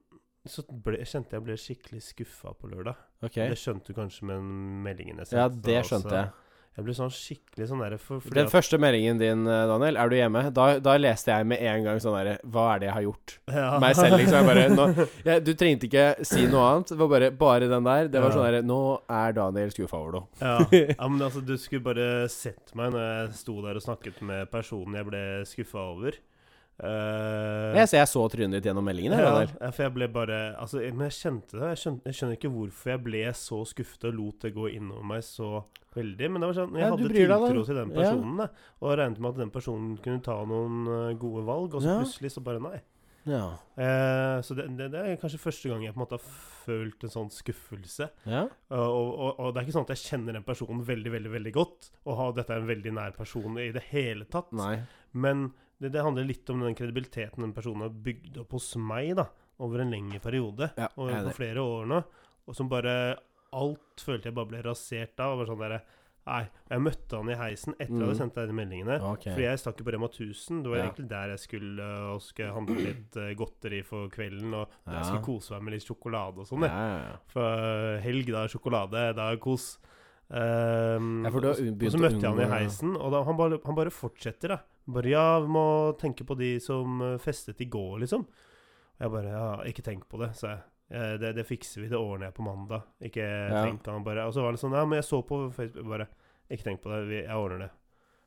Speaker 1: så ble, kjente jeg ble skikkelig skuffa på lørdag.
Speaker 2: Ok.
Speaker 1: Det skjønte du kanskje med den meldingen jeg sendte.
Speaker 2: Ja, det
Speaker 1: altså.
Speaker 2: skjønte jeg.
Speaker 1: Jeg ble sånn skikkelig sånn derre for, fordi
Speaker 2: Den
Speaker 1: at-
Speaker 2: første meldingen din, eh, Daniel, er du hjemme? Da, da leste jeg med en gang sånn derre Hva er det jeg har gjort?
Speaker 1: Ja.
Speaker 2: Meg selv, liksom. Jeg bare nå, jeg, Du trengte ikke si noe annet. Det var bare, bare den der. Det var
Speaker 1: Ja.
Speaker 2: sånn derre Nå er Daniel skuffa over noe.
Speaker 1: Ja. ja, men altså, du skulle bare sett meg når jeg sto der og snakket med personen jeg ble skuffa over. Eh,
Speaker 2: Jeg, så- jeg så trynet ditt gjennom meldingen, jeg,
Speaker 1: ja,
Speaker 2: Daniel.
Speaker 1: ja, for jeg ble bare altså, jeg- Men jeg kjente det. Jeg skjønner, jeg skjønner ikke hvorfor jeg ble så skuffet og lot det gå innover meg så veldig. Men det var sånn, jeg
Speaker 2: Ja, du
Speaker 1: hadde
Speaker 2: bryr deg, da.
Speaker 1: tiltro til den
Speaker 2: Ja.
Speaker 1: personen, da, og regnet med at den personen kunne ta noen eh, gode valg, og så
Speaker 2: Ja.
Speaker 1: plutselig så bare nei.
Speaker 2: Ja.
Speaker 1: Eh, så det, det, det er kanskje første gang jeg på en måte har følt en sånn skuffelse.
Speaker 2: ja.
Speaker 1: Eh, og, og, og det er ikke sånn at jeg kjenner den personen veldig veldig, veldig godt, og har, dette er en veldig nær person i det hele tatt.
Speaker 2: Nei.
Speaker 1: Men det, det handler litt om den kredibiliteten den personen har bygd opp hos meg da, over en lengre periode,
Speaker 2: Ja,
Speaker 1: og
Speaker 2: jeg er
Speaker 1: på flere år nå, og som bare Alt følte jeg bare ble rasert da. Og var sånn der, Nei, jeg møtte han i heisen etter at jeg hadde
Speaker 2: Mhm.
Speaker 1: sendt deg de meldingene.
Speaker 2: Ok.
Speaker 1: For jeg stakk jo på Rema 1000. Det var
Speaker 2: Ja.
Speaker 1: egentlig der jeg skulle øh, og skulle handle litt øh, godteri for kvelden. Og
Speaker 2: Ja.
Speaker 1: jeg skulle kose meg med litt sjokolade og
Speaker 2: Ja,
Speaker 1: sånn. jeg.
Speaker 2: ja, ja.
Speaker 1: For helg, da er sjokolade, da er kos. Ehm,
Speaker 2: Ja, for du har
Speaker 1: og så-
Speaker 2: begynt
Speaker 1: og så
Speaker 2: å
Speaker 1: møtte jeg han i
Speaker 2: unngå-
Speaker 1: heisen, og da, han, bare, han bare fortsetter, da. Bare ja, vi må tenke på de som øh, festet i går, liksom. Og jeg bare ja, ikke tenk på det, sa jeg. Eh, Det, det fikser vi, det ordner jeg på mandag. Ikke tenk han bare Og så var det sånn, ja, men jeg så på Facebook bare Ikke tenk på det, vi- jeg ordner det.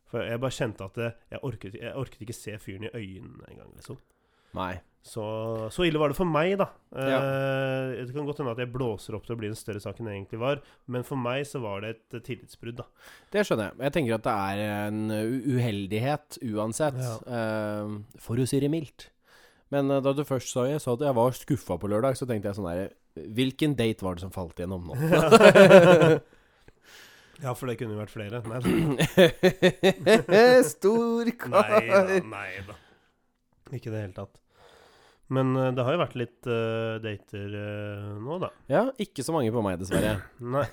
Speaker 1: For jeg bare kjente at det, jeg, orket, jeg orket ikke se fyren i øynene engang, liksom.
Speaker 2: Nei.
Speaker 1: Så, så ille var det for meg, da.
Speaker 2: Ja.
Speaker 1: Eh, det kan godt hende at jeg blåser opp til å bli en større sak enn det egentlig var, men for meg så var det et eh, tillitsbrudd, da.
Speaker 2: Det skjønner jeg. Jeg tenker at det er en u- uheldighet uansett,
Speaker 1: Ja.
Speaker 2: eh, for å si det mildt. Men eh, da du først sa, jeg sa at jeg var skuffa på lørdag, så tenkte jeg sånn her Hvilken date var det som falt gjennom nå?
Speaker 1: Ja, for det kunne jo vært flere. Nei da.
Speaker 2: Stor
Speaker 1: Nei da.
Speaker 2: kar!
Speaker 1: Nei, da. Ikke i det hele tatt. Men eh, det har jo vært litt eh, dater eh, nå, da.
Speaker 2: Ja, ikke så mange på meg, dessverre.
Speaker 1: Nei.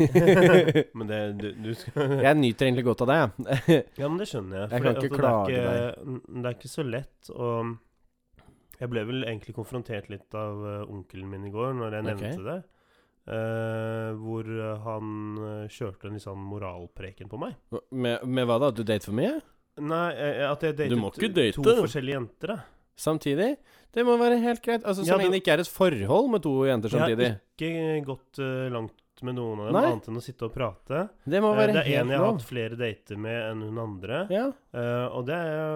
Speaker 1: men det du, du skal
Speaker 2: Jeg nyter egentlig godt av det, jeg.
Speaker 1: Ja, men det skjønner jeg.
Speaker 2: Jeg
Speaker 1: fordi
Speaker 2: kan ikke
Speaker 1: at det er
Speaker 2: klage
Speaker 1: ikke- Det er ikke så lett å Jeg ble vel egentlig konfrontert litt av eh, onkelen min i går når jeg
Speaker 2: Ok.
Speaker 1: nevnte det. eh, hvor eh, han eh, kjørte en litt sånn moralpreken på meg.
Speaker 2: Med, med hva da? At du dater for mye?
Speaker 1: Nei, eh, at jeg datet
Speaker 2: Du må ikke
Speaker 1: to
Speaker 2: date.
Speaker 1: forskjellige jenter, da.
Speaker 2: Samtidig? Det må være helt greit. Altså, Så
Speaker 1: Ja,
Speaker 2: lenge
Speaker 1: du-
Speaker 2: det ikke er et forhold med to jenter
Speaker 1: Ja,
Speaker 2: samtidig.
Speaker 1: Ikke gått eh, langt med noen av dem,
Speaker 2: Nei.
Speaker 1: annet enn å sitte og prate.
Speaker 2: Det må
Speaker 1: Eh,
Speaker 2: være
Speaker 1: det er en
Speaker 2: helt
Speaker 1: jeg har hatt
Speaker 2: lov.
Speaker 1: flere dater med enn hun andre.
Speaker 2: Ja.
Speaker 1: Eh, og det er jo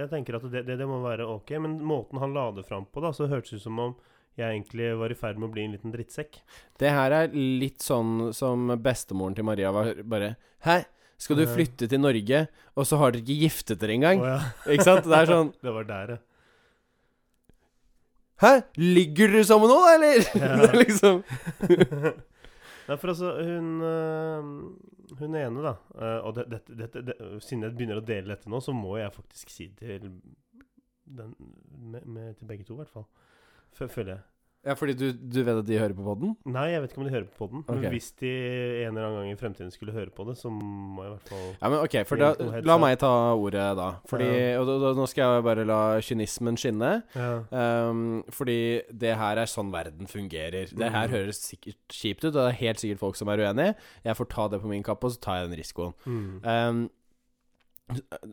Speaker 1: Jeg tenker at det, det, det må være ok, men måten han la det fram på, da, så hørtes det ut som om jeg egentlig var i ferd med å bli en liten drittsekk.
Speaker 2: Det her er litt sånn som bestemoren til Maria var bare Hæ? Skal du
Speaker 1: Ja.
Speaker 2: flytte til Norge, og så har dere ikke giftet dere engang?
Speaker 1: Eh. Å ja,
Speaker 2: Ikke sant? Det er sånn
Speaker 1: det var der, ja.
Speaker 2: Hæ? Ligger dere sammen nå, da, eller?
Speaker 1: Ja.
Speaker 2: Det er liksom
Speaker 1: Nei, for altså, hun eh, Hun ene, da eh, Og det, dette- dette- det, siden jeg begynner å dele dette nå, så må jeg faktisk si til den med, med, Til begge to, i hvert fall. Fø- Føler jeg.
Speaker 2: Ja, fordi du, du vet at de hører på podden?
Speaker 1: Nei, jeg vet ikke om de hører på den.
Speaker 2: Ok.
Speaker 1: Men hvis de en eller annen gang i fremtiden skulle høre på det, så må jeg i hvert fall
Speaker 2: Ja, men OK, for
Speaker 1: Det er
Speaker 2: da,
Speaker 1: to headset.
Speaker 2: la meg ta ordet, da. Fordi Og da, da, nå skal jeg bare la kynismen skinne.
Speaker 1: ja.
Speaker 2: Ehm, fordi det her er sånn verden fungerer. Det her
Speaker 1: Mhm.
Speaker 2: høres sikkert kjipt ut, og det er Eh, helt sikkert folk som er uenige. Jeg får ta det på min kappe, og så tar jeg den risikoen.
Speaker 1: mm.
Speaker 2: Ehm,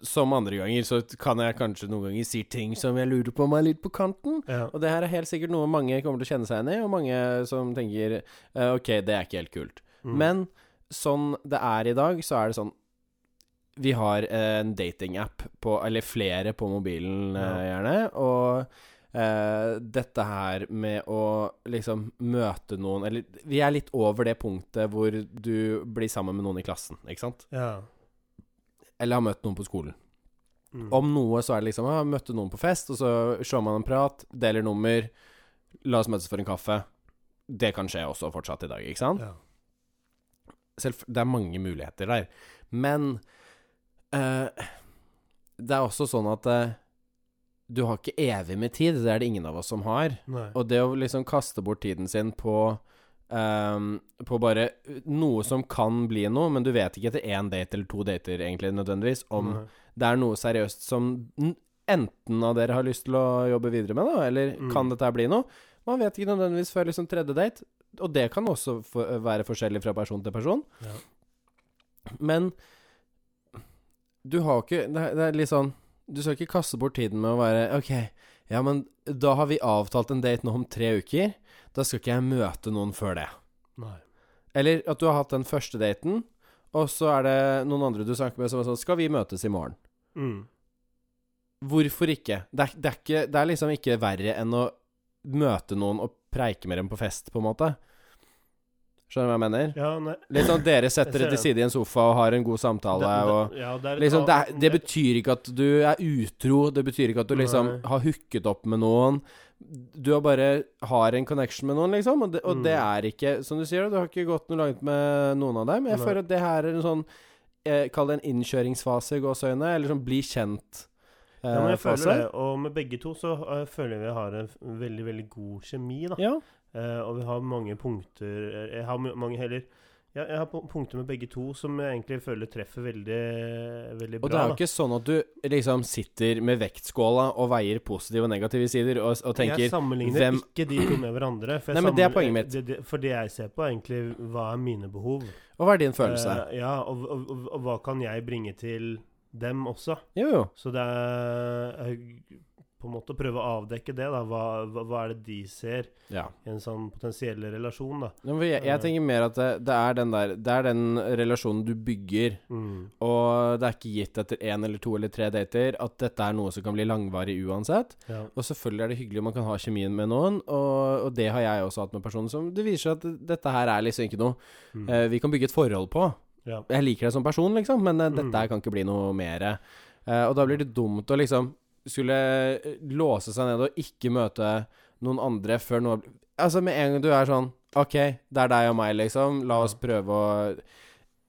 Speaker 2: som andre ganger, så kan jeg kanskje noen ganger si ting som jeg lurer på om er litt på kanten.
Speaker 1: Ja.
Speaker 2: Og det her er helt sikkert noe mange kommer til å kjenne seg igjen i, og mange som tenker eh, Ok, det er ikke helt kult.
Speaker 1: Mm.
Speaker 2: Men sånn det er i dag, så er det sånn Vi har en datingapp, på- eller flere på mobilen, eh, gjerne, og eh, dette her med å liksom møte noen Eller vi er litt over det punktet hvor du blir sammen med noen i klassen, ikke sant?
Speaker 1: ja.
Speaker 2: Eller har møtt noen på skolen.
Speaker 1: Mm.
Speaker 2: Om noe så er det liksom ah, Møtte noen på fest, og så slår man en prat, deler nummer, la oss møtes for en kaffe. Det kan skje også fortsatt i dag, ikke sant?
Speaker 1: ja.
Speaker 2: Selv, det er mange muligheter der. Men eh, det er også sånn at eh, du har ikke evig med tid. Det er det ingen av oss som har.
Speaker 1: Nei.
Speaker 2: Og det å liksom kaste bort tiden sin på ehm, på bare noe som kan bli noe, men du vet ikke etter én date eller to dater egentlig nødvendigvis om
Speaker 1: Nei.
Speaker 2: det er noe seriøst som n- enten av dere har lyst til å jobbe videre med, da, eller
Speaker 1: Mm.
Speaker 2: kan dette her bli noe? Man vet ikke nødvendigvis før liksom tredje date, og det kan også få- eh, være forskjellig fra person til person.
Speaker 1: Ja.
Speaker 2: Men du har ikke det, er- det er litt sånn Du skal ikke kaste bort tiden med å være Ok, ja, men da har vi avtalt en date nå om tre uker. Da skal ikke jeg møte noen før det.
Speaker 1: Nei.
Speaker 2: Eller at du har hatt den første daten, og så er det noen andre du snakker med som er sånn Skal vi møtes i morgen?
Speaker 1: Mm.
Speaker 2: Hvorfor ikke? Det er, det, er ikke? det er liksom ikke verre enn å møte noen og preike med dem på fest, på en måte. Skjønner du hva jeg mener?
Speaker 1: Ja, nei.
Speaker 2: Litt sånn dere setter
Speaker 1: Jeg ser
Speaker 2: dere til side i en sofa og har en god samtale og
Speaker 1: ja, det er et
Speaker 2: Liksom, det, er,
Speaker 1: annet-
Speaker 2: det betyr ikke at du er utro, det betyr ikke at du liksom
Speaker 1: Nei.
Speaker 2: har hooket opp med noen. Du har bare har en connection med noen, liksom, og det, og
Speaker 1: Mm.
Speaker 2: det er ikke Som du sier, du har ikke gått noe langt med noen av dem. Jeg
Speaker 1: Nei.
Speaker 2: føler at det her er en sånn eh, Kall det en innkjøringsfase, i gåseøyne, eller sånn bli eh, kjent-fase.
Speaker 1: ja, men jeg føler det, og med begge to så eh, føler jeg vi har en f- veldig, veldig god kjemi, da.
Speaker 2: Ja.
Speaker 1: Eh, og vi har mange punkter eh, Jeg har ma- mange heller ja, Jeg har pu- punkter med begge to som jeg egentlig føler treffer veldig, veldig bra.
Speaker 2: Og det er jo
Speaker 1: da.
Speaker 2: ikke sånn at du liksom sitter med vektskåla og veier positive og negative sider og, og
Speaker 1: jeg
Speaker 2: tenker
Speaker 1: sammenligner
Speaker 2: hvem-
Speaker 1: ikke de to med hverandre. For, jeg
Speaker 2: Nei, men det er
Speaker 1: sammenligner-
Speaker 2: poenget mitt.
Speaker 1: Det, det, for det jeg ser på, er egentlig hva er mine behov.
Speaker 2: Og hva er din følelse?
Speaker 1: Eh, ja, og, og, og, og hva kan jeg bringe til dem også?
Speaker 2: jo, jo.
Speaker 1: Så det er eh, på en måte å prøve å avdekke det, da. Hva, hva, hva er det de ser
Speaker 2: Ja.
Speaker 1: i en sånn potensiell relasjon, da?
Speaker 2: Nei, men Jeg, jeg tenker mer at det, det er den der Det er den relasjonen du bygger,
Speaker 1: Mm.
Speaker 2: og det er ikke gitt etter én eller to eller tre dater at dette er noe som kan bli langvarig uansett.
Speaker 1: Ja.
Speaker 2: Og selvfølgelig er det hyggelig om man kan ha kjemien med noen, og, og det har jeg også hatt med personer som Det viser seg at dette her er liksom ikke noe
Speaker 1: Mm.
Speaker 2: eh, vi kan bygge et forhold på.
Speaker 1: ja.
Speaker 2: jeg liker deg som person, liksom, men eh,
Speaker 1: Mm.
Speaker 2: dette her kan ikke bli noe mer. Eh, og da blir det dumt å liksom skulle eh, låse seg ned og ikke møte noen andre før noe Altså, med en gang du er sånn OK, det er deg og meg, liksom, la oss prøve å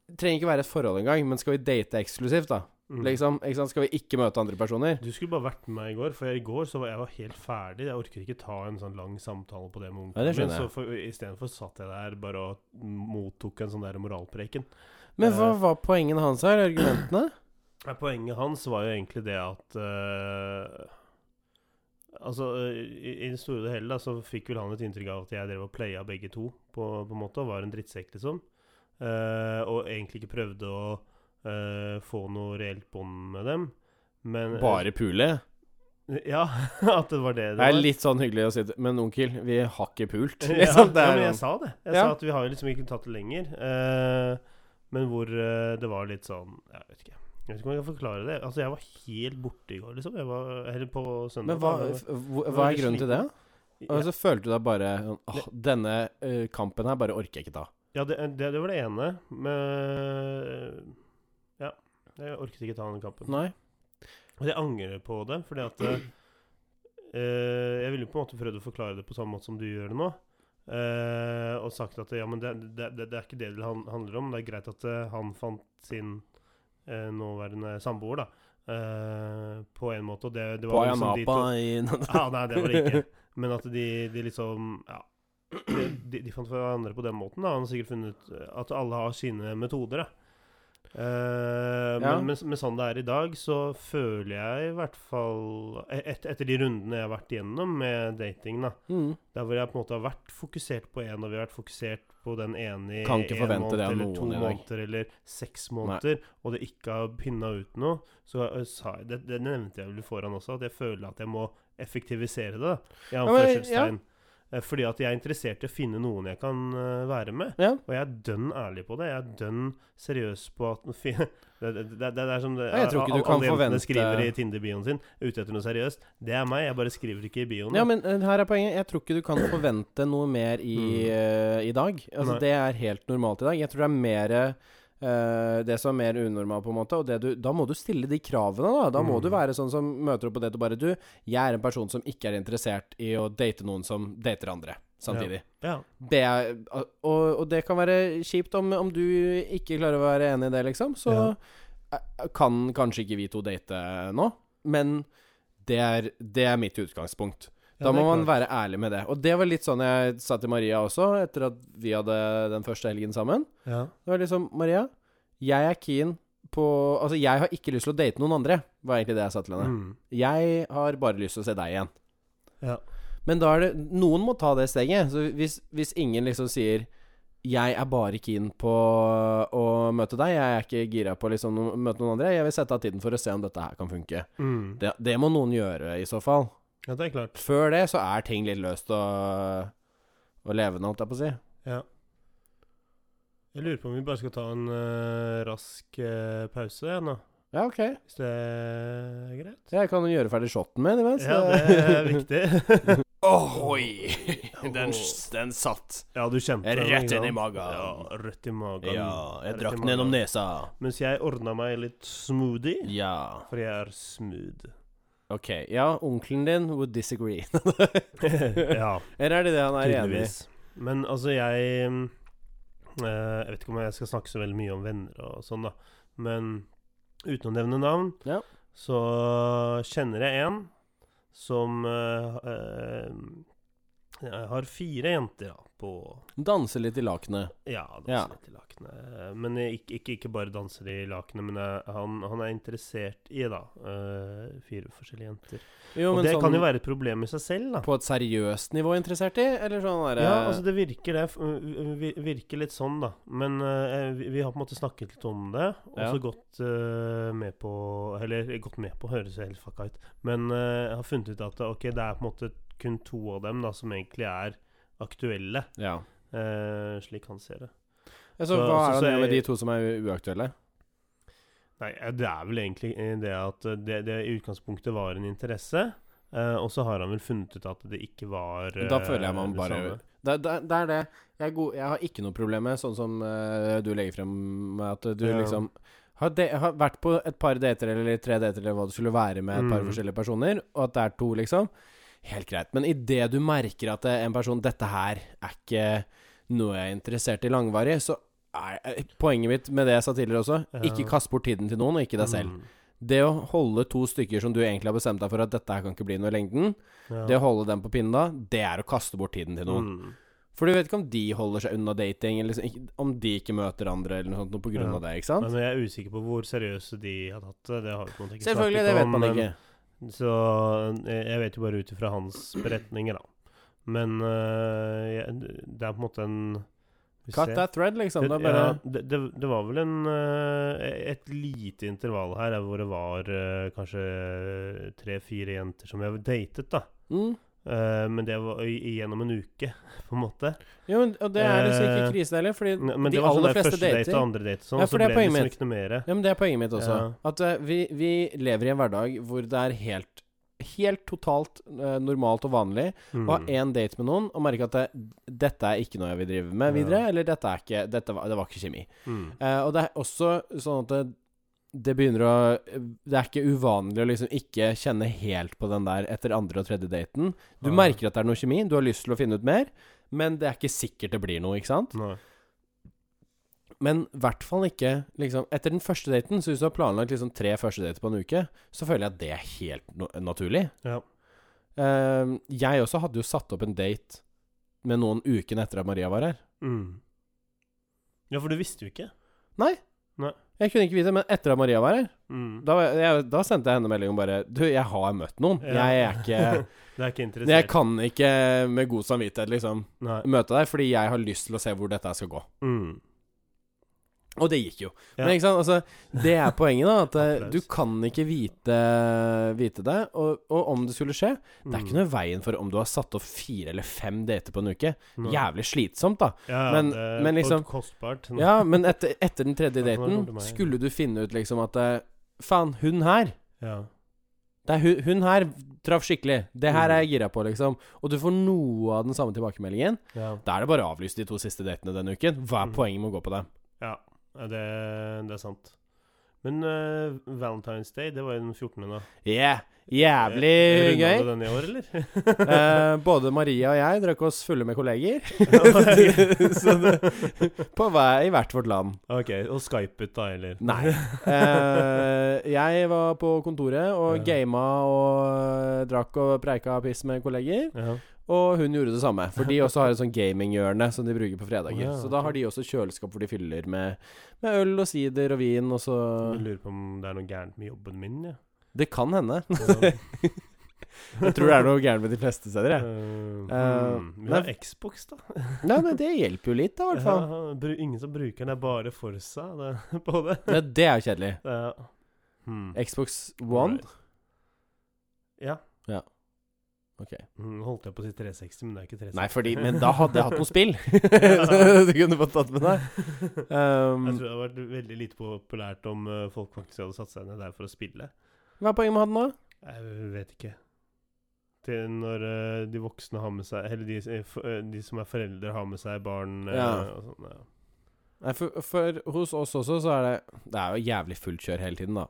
Speaker 2: det trenger ikke være et forhold engang, men skal vi date eksklusivt, da?
Speaker 1: Mm.
Speaker 2: Liksom, ikke sant? Skal vi ikke møte andre personer?
Speaker 1: Du skulle bare vært med meg i går, for i går så var jeg var helt ferdig. Jeg orker ikke ta en sånn lang samtale på det med
Speaker 2: Ja,
Speaker 1: onkelen
Speaker 2: det skjønner
Speaker 1: min, så
Speaker 2: jeg.
Speaker 1: for- istedenfor satt jeg der bare og mottok en sånn der moralpreken.
Speaker 2: Men hva
Speaker 1: Eh.
Speaker 2: var poengene hans her? Argumentene?
Speaker 1: Nei, Poenget hans var jo egentlig det at eh, Altså, eh, i, i det store og det hele da, så fikk vel han et inntrykk av at jeg drev og playa begge to, på, på en måte, og var en drittsekk, liksom. Eh, og egentlig ikke prøvde å eh, få noe reelt bånd med dem. Men
Speaker 2: Bare pule?
Speaker 1: Ja, at det var det det
Speaker 2: Det er litt sånn hyggelig å si det, men onkel, vi har ikke pult.
Speaker 1: Ja,
Speaker 2: Liksom, det
Speaker 1: ja,
Speaker 2: er
Speaker 1: men jeg
Speaker 2: sånn.
Speaker 1: sa det. Jeg
Speaker 2: Ja.
Speaker 1: sa at vi har jo liksom ikke tatt det lenger. eh, men hvor eh, det var litt sånn Jeg vet ikke Jeg vet ikke om jeg kan forklare det. Altså, jeg var helt borte i går, liksom. Jeg var, eller på søndag.
Speaker 2: Men hva, altså-
Speaker 1: da.
Speaker 2: f- hva hva er
Speaker 1: veldig
Speaker 2: grunnen til det?
Speaker 1: sliten.
Speaker 2: Og
Speaker 1: ja,
Speaker 2: så følte du deg bare sånn, Åh, denne eh, kampen her bare orker jeg ikke ta.
Speaker 1: ja det, det, det var det ene. Men Ja. Jeg orket ikke ta den kampen.
Speaker 2: Nei.
Speaker 1: Og jeg angrer på det, fordi at eh, Jeg ville på en måte prøvd å forklare det på samme måte som du gjør det nå. eh, og sagt at ja, men det, det, det, det er ikke det det han- handler om. Det er greit at eh, han fant sin eh, nåværende samboer, da. eh, på en måte. Og det, det
Speaker 2: På
Speaker 1: var liksom de
Speaker 2: Ayanapa
Speaker 1: to
Speaker 2: i Mm.
Speaker 1: ah, Nei, det var det ikke. Men at de, de liksom Ja. De, de, de fant hverandre på den måten. da Han har sikkert funnet ut at alle har sine metoder. Da. Eh, men
Speaker 2: Ja.
Speaker 1: Men, men, men sånn det er i dag, så føler jeg i hvert fall e-, et, Etter de rundene jeg har vært igjennom med dating, da
Speaker 2: Mm.
Speaker 1: Der hvor jeg på en måte har vært fokusert på én, og vi har vært fokusert på den ene i
Speaker 2: Kan ikke
Speaker 1: en
Speaker 2: forvente
Speaker 1: måned,
Speaker 2: det av
Speaker 1: eller
Speaker 2: noen
Speaker 1: to
Speaker 2: i dag.
Speaker 1: måneder eller seks måneder, og det ikke har pinna ut noe, så eh, sa jeg det, det nevnte jeg vel foran også, at jeg føler at jeg må effektivisere det. da, I
Speaker 2: men-
Speaker 1: anførselstegn. Eh, Fordi at jeg er interessert i å finne noen jeg kan eh, være med.
Speaker 2: Ja.
Speaker 1: Og jeg er dønn ærlig på det. Jeg er dønn seriøs på at fi- det, det, det, det er som det,
Speaker 2: Ja, jeg tror ikke du
Speaker 1: alle
Speaker 2: kan
Speaker 1: jentene
Speaker 2: forvente-
Speaker 1: skriver i Tinder-bioen sin, ute etter noe seriøst. Det er meg. Jeg bare skriver ikke i bioen.
Speaker 2: Ja,
Speaker 1: da.
Speaker 2: men eh, her er poenget. Jeg tror ikke du kan forvente noe mer i,
Speaker 1: Mm.
Speaker 2: eh, i dag. Altså,
Speaker 1: Nei.
Speaker 2: det er helt normalt i dag. Jeg tror det er mer eh, det som er mer unormalt, på en måte. Og det du, da må du stille de kravene, da. Da må
Speaker 1: Mm.
Speaker 2: du være sånn som møter opp på date og bare Du, jeg er en person som ikke er interessert i å date noen som dater andre samtidig.
Speaker 1: ja.
Speaker 2: Det er, og, og det kan være kjipt om, om du ikke klarer å være enig i det, liksom. Så eh, kan kanskje ikke vi to date nå, men det er, det er mitt utgangspunkt.
Speaker 1: Ja,
Speaker 2: Da
Speaker 1: det
Speaker 2: må
Speaker 1: er
Speaker 2: man
Speaker 1: klart.
Speaker 2: være ærlig med det. Og det var litt sånn jeg sa til Maria også, etter at vi hadde den første helgen sammen.
Speaker 1: Ja.
Speaker 2: Det var liksom Maria, jeg er keen på Altså, jeg har ikke lyst til å date noen andre, var egentlig det jeg sa til henne.
Speaker 1: Mm.
Speaker 2: Jeg har bare lyst til å se deg igjen.
Speaker 1: Ja.
Speaker 2: Men da er det Noen må ta det steget. Så hvis, hvis ingen liksom sier 'Jeg er bare keen på å møte deg', 'jeg er ikke gira på liksom å møte noen andre', 'jeg vil sette av tiden for å se om dette her kan funke'.
Speaker 1: Mm.
Speaker 2: Det, det må noen gjøre, i så fall.
Speaker 1: ja, det er klart.
Speaker 2: Før det så er ting litt løst og, og levende, holdt jeg på å si.
Speaker 1: Ja. Jeg lurer på om vi bare skal ta en eh, rask eh, pause igjen, da.
Speaker 2: Ja, ok.
Speaker 1: Hvis det er greit?
Speaker 2: Jeg kan jo gjøre ferdig shoten min imens.
Speaker 1: Ja, det er viktig.
Speaker 2: Ohoi! Den, den satt
Speaker 1: ja, du kjente den,
Speaker 2: rett
Speaker 1: ikke
Speaker 2: inn i
Speaker 1: sant?
Speaker 2: magen.
Speaker 1: Ja, rett i magen.
Speaker 2: Ja, jeg
Speaker 1: Rett i
Speaker 2: drakk den
Speaker 1: magen.
Speaker 2: gjennom nesa.
Speaker 1: Mens jeg ordna meg litt smoothie.
Speaker 2: Ja.
Speaker 1: For jeg er smooth.
Speaker 2: Ok. Ja, onkelen din would disagree.
Speaker 1: ja,
Speaker 2: Eller er det det han er enig i?
Speaker 1: tydeligvis. Men altså, jeg mm, eh, Jeg vet ikke om jeg skal snakke så veldig mye om venner og sånn, da. Men uten å nevne navn,
Speaker 2: Ja.
Speaker 1: så kjenner jeg en som eh, eh, har fire jenter da, på
Speaker 2: Danse litt i lakenet.
Speaker 1: Ja, danser
Speaker 2: Ja.
Speaker 1: litt i lakenet. Men ikke, ikke, ikke bare danser i lakenet, men jeg, han, han er interessert i, da, eh, fire forskjellige jenter.
Speaker 2: Jo,
Speaker 1: og
Speaker 2: men
Speaker 1: det
Speaker 2: sånn
Speaker 1: kan jo være et problem i seg selv, da.
Speaker 2: på et seriøst nivå interessert i, eller sånn derre
Speaker 1: Ja, altså det virker det. f- vi- Virker litt sånn, da. Men eh, vi, vi har på en måte snakket litt om det, og så
Speaker 2: Ja.
Speaker 1: gått eh, med på Eller gått med på, høres jo helt fucka ut. Men eh, jeg har funnet ut at ok, det er på en måte kun to av dem da som egentlig er aktuelle,
Speaker 2: ja.
Speaker 1: eh, slik han ser det.
Speaker 2: Altså,
Speaker 1: Så-
Speaker 2: Hva
Speaker 1: så-
Speaker 2: er
Speaker 1: så
Speaker 2: det med de
Speaker 1: jeg-
Speaker 2: to som er u- uaktuelle?
Speaker 1: Nei, eh, det er vel egentlig eh, det at eh, det, det i utgangspunktet var en interesse. eh, og så har han vel funnet ut at det ikke var eh,
Speaker 2: Da føler jeg man
Speaker 1: det
Speaker 2: bare
Speaker 1: samme.
Speaker 2: Det, det, det er det. Jeg, er god, jeg har ikke noe problem med sånn som eh, du legger frem med at du
Speaker 1: Ja.
Speaker 2: liksom har, de, har vært på et par dater eller tre dater eller hva det skulle være med et par
Speaker 1: Mm.
Speaker 2: forskjellige personer, og at det er to, liksom. Helt greit. Men idet du merker at eh, en person 'Dette her er ikke noe jeg er interessert i langvarig', så er eh, poenget mitt med det jeg sa tidligere også,
Speaker 1: Ja.
Speaker 2: ikke kast bort tiden til noen, og ikke deg selv.
Speaker 1: Mm,
Speaker 2: Det å holde to stykker som du egentlig har bestemt deg for at 'dette her kan ikke bli noe i lengden',
Speaker 1: ja.
Speaker 2: det å holde dem på pinnen da, det er å kaste bort tiden til noen.
Speaker 1: Mm.
Speaker 2: For du vet ikke om de holder seg unna dating, eller liksom, ikke, om de ikke møter andre eller noe sånt noe på grunn
Speaker 1: Ja.
Speaker 2: av det, ikke
Speaker 1: Men
Speaker 2: sant?
Speaker 1: jeg er usikker på hvor seriøse de har tatt det. Det har vi på en måte ikke
Speaker 2: Selvfølgelig,
Speaker 1: snakket
Speaker 2: det vet
Speaker 1: om,
Speaker 2: man
Speaker 1: men-
Speaker 2: ikke.
Speaker 1: Så jeg jeg vet jo bare ut ifra hans beretninger, da. Men øh, jeg, det er på en måte en vi
Speaker 2: Cut
Speaker 1: ser.
Speaker 2: that thread, liksom.
Speaker 1: det,
Speaker 2: Det er bare
Speaker 1: ja, det, det, det var vel en øh, et lite intervall her eh, hvor det var øh, kanskje eh, tre-fire jenter som jeg datet, da.
Speaker 2: mm.
Speaker 1: Eh, men det var i- gjennom en uke, på en måte.
Speaker 2: Jo, men og det er liksom ikke
Speaker 1: Eh,
Speaker 2: krisen heller, fordi
Speaker 1: Ne- Men
Speaker 2: de
Speaker 1: det var sånn
Speaker 2: aller
Speaker 1: der
Speaker 2: fleste
Speaker 1: første date
Speaker 2: dater
Speaker 1: og andre date, og sånn,
Speaker 2: Ja, for
Speaker 1: så ble
Speaker 2: det er
Speaker 1: det
Speaker 2: poenget
Speaker 1: liksom
Speaker 2: mitt.
Speaker 1: ikke noe mer.
Speaker 2: Ja, men det er poenget mitt også.
Speaker 1: Ja.
Speaker 2: At eh, vi, vi lever i en hverdag hvor det er helt Helt totalt eh, normalt og vanlig å ha
Speaker 1: Mm.
Speaker 2: én date med noen og merke at det, 'dette er ikke noe jeg vil drive med
Speaker 1: Ja.
Speaker 2: videre', eller 'dette er ikke dette var, Det var ikke kjemi'.
Speaker 1: Mm.
Speaker 2: Eh, og det er også sånn at det, det begynner å Det er ikke uvanlig å liksom ikke kjenne helt på den der etter andre og tredje daten. Du
Speaker 1: Ja.
Speaker 2: merker at det er noe kjemi, du har lyst til å finne ut mer, men det er ikke sikkert det blir noe, ikke sant?
Speaker 1: Nei.
Speaker 2: Men i hvert fall ikke liksom Etter den første daten, så hvis du har planlagt liksom tre første dater på en uke, så føler jeg at det er helt no naturlig.
Speaker 1: Ja.
Speaker 2: Eh, jeg også hadde jo satt opp en date med noen uken etter at Maria var her.
Speaker 1: Mm. Ja, for du visste jo ikke.
Speaker 2: Nei.
Speaker 1: Nei.
Speaker 2: Jeg kunne ikke vite, men etter at Maria var her,
Speaker 1: Mm.
Speaker 2: da, var jeg- jeg, da sendte jeg henne melding om bare Du, jeg har møtt noen.
Speaker 1: Ja.
Speaker 2: Jeg er ikke
Speaker 1: Det er ikke interessert.
Speaker 2: Jeg kan ikke med god samvittighet liksom
Speaker 1: Nei.
Speaker 2: møte deg, fordi jeg har lyst til å se hvor dette her skal gå.
Speaker 1: Mm.
Speaker 2: Og det gikk jo.
Speaker 1: Ja.
Speaker 2: Men ikke sant, altså, det er poenget, da. At eh,
Speaker 1: Applaus.
Speaker 2: du kan ikke vite, vite det. Og, og om det skulle skje Det
Speaker 1: Mm.
Speaker 2: er ikke noe veien for om du har satt opp fire eller fem dater på en uke.
Speaker 1: Nei.
Speaker 2: Jævlig slitsomt, da.
Speaker 1: Ja, ja,
Speaker 2: men-
Speaker 1: det er
Speaker 2: men
Speaker 1: for
Speaker 2: liksom-
Speaker 1: Kostbart.
Speaker 2: Ja, men etter, etter den tredje
Speaker 1: Ja, for da kommer det
Speaker 2: daten
Speaker 1: meg.
Speaker 2: skulle du finne ut liksom at eh, Faen, hun her
Speaker 1: Ja.
Speaker 2: det er hun, hun her traff skikkelig. Det her
Speaker 1: Mm.
Speaker 2: er jeg gira på, liksom. Og du får noe av den samme tilbakemeldingen.
Speaker 1: ja.
Speaker 2: Da er det bare å avlyse de to siste datene denne uken. Hva er
Speaker 1: Mm.
Speaker 2: poenget med å gå på dem?
Speaker 1: Ja, ja, det, det er sant. Men eh, Valentine's Day, det var jo den 14. da.
Speaker 2: Yeah!
Speaker 1: Runda
Speaker 2: Jævlig gøy.
Speaker 1: du den i år, eller?
Speaker 2: Eh, både Maria og jeg drakk oss fulle med kolleger. så det, på vei i hvert vårt land.
Speaker 1: ok, og skypet da, eller?
Speaker 2: Nei. Eh, jeg var på kontoret og
Speaker 1: Ja.
Speaker 2: gama og eh, drakk og preika piss med kolleger.
Speaker 1: Ja.
Speaker 2: Og hun gjorde det samme, for de også har et sånn gaminghjørne som de bruker på fredager.
Speaker 1: Å, ja,
Speaker 2: Så da har
Speaker 1: ok.
Speaker 2: de også kjøleskap hvor de fyller med, med øl og sider og vin, og så
Speaker 1: Jeg lurer på om det er noe gærent med jobben min, ja.
Speaker 2: Det kan hende.
Speaker 1: Ja.
Speaker 2: Jeg tror det er noe gærent med de fleste steder, jeg.
Speaker 1: Eh,
Speaker 2: Eh,
Speaker 1: hmm. Vi
Speaker 2: nei.
Speaker 1: har Xbox, da.
Speaker 2: Nei, men det hjelper jo litt, da, i hvert fall.
Speaker 1: Ja, bru- ingen som bruker den, det er bare Forsa det, på det.
Speaker 2: Men det er jo kjedelig.
Speaker 1: Ja. Hmm.
Speaker 2: Xbox One.
Speaker 1: Right. Ja.
Speaker 2: Ok.
Speaker 1: Mm, Holdt jeg på å si 360, men det er ikke 360.
Speaker 2: Nei, fordi, men da hadde jeg hatt noe spill. Så du kunne fått tatt med deg. Um,
Speaker 1: Jeg tror det hadde vært veldig lite populært om eh, folk faktisk hadde satt seg ned der for å spille.
Speaker 2: hva er poenget med å ha den da?
Speaker 1: Jeg vet ikke. Til når eh, de voksne har med seg Eller de, eh, f- eh, de som er foreldre, har med seg barn eh,
Speaker 2: Ja.
Speaker 1: og sånn. Ja.
Speaker 2: Nei, for, for hos oss også så er det Det er jo jævlig fullt kjør hele tiden, da.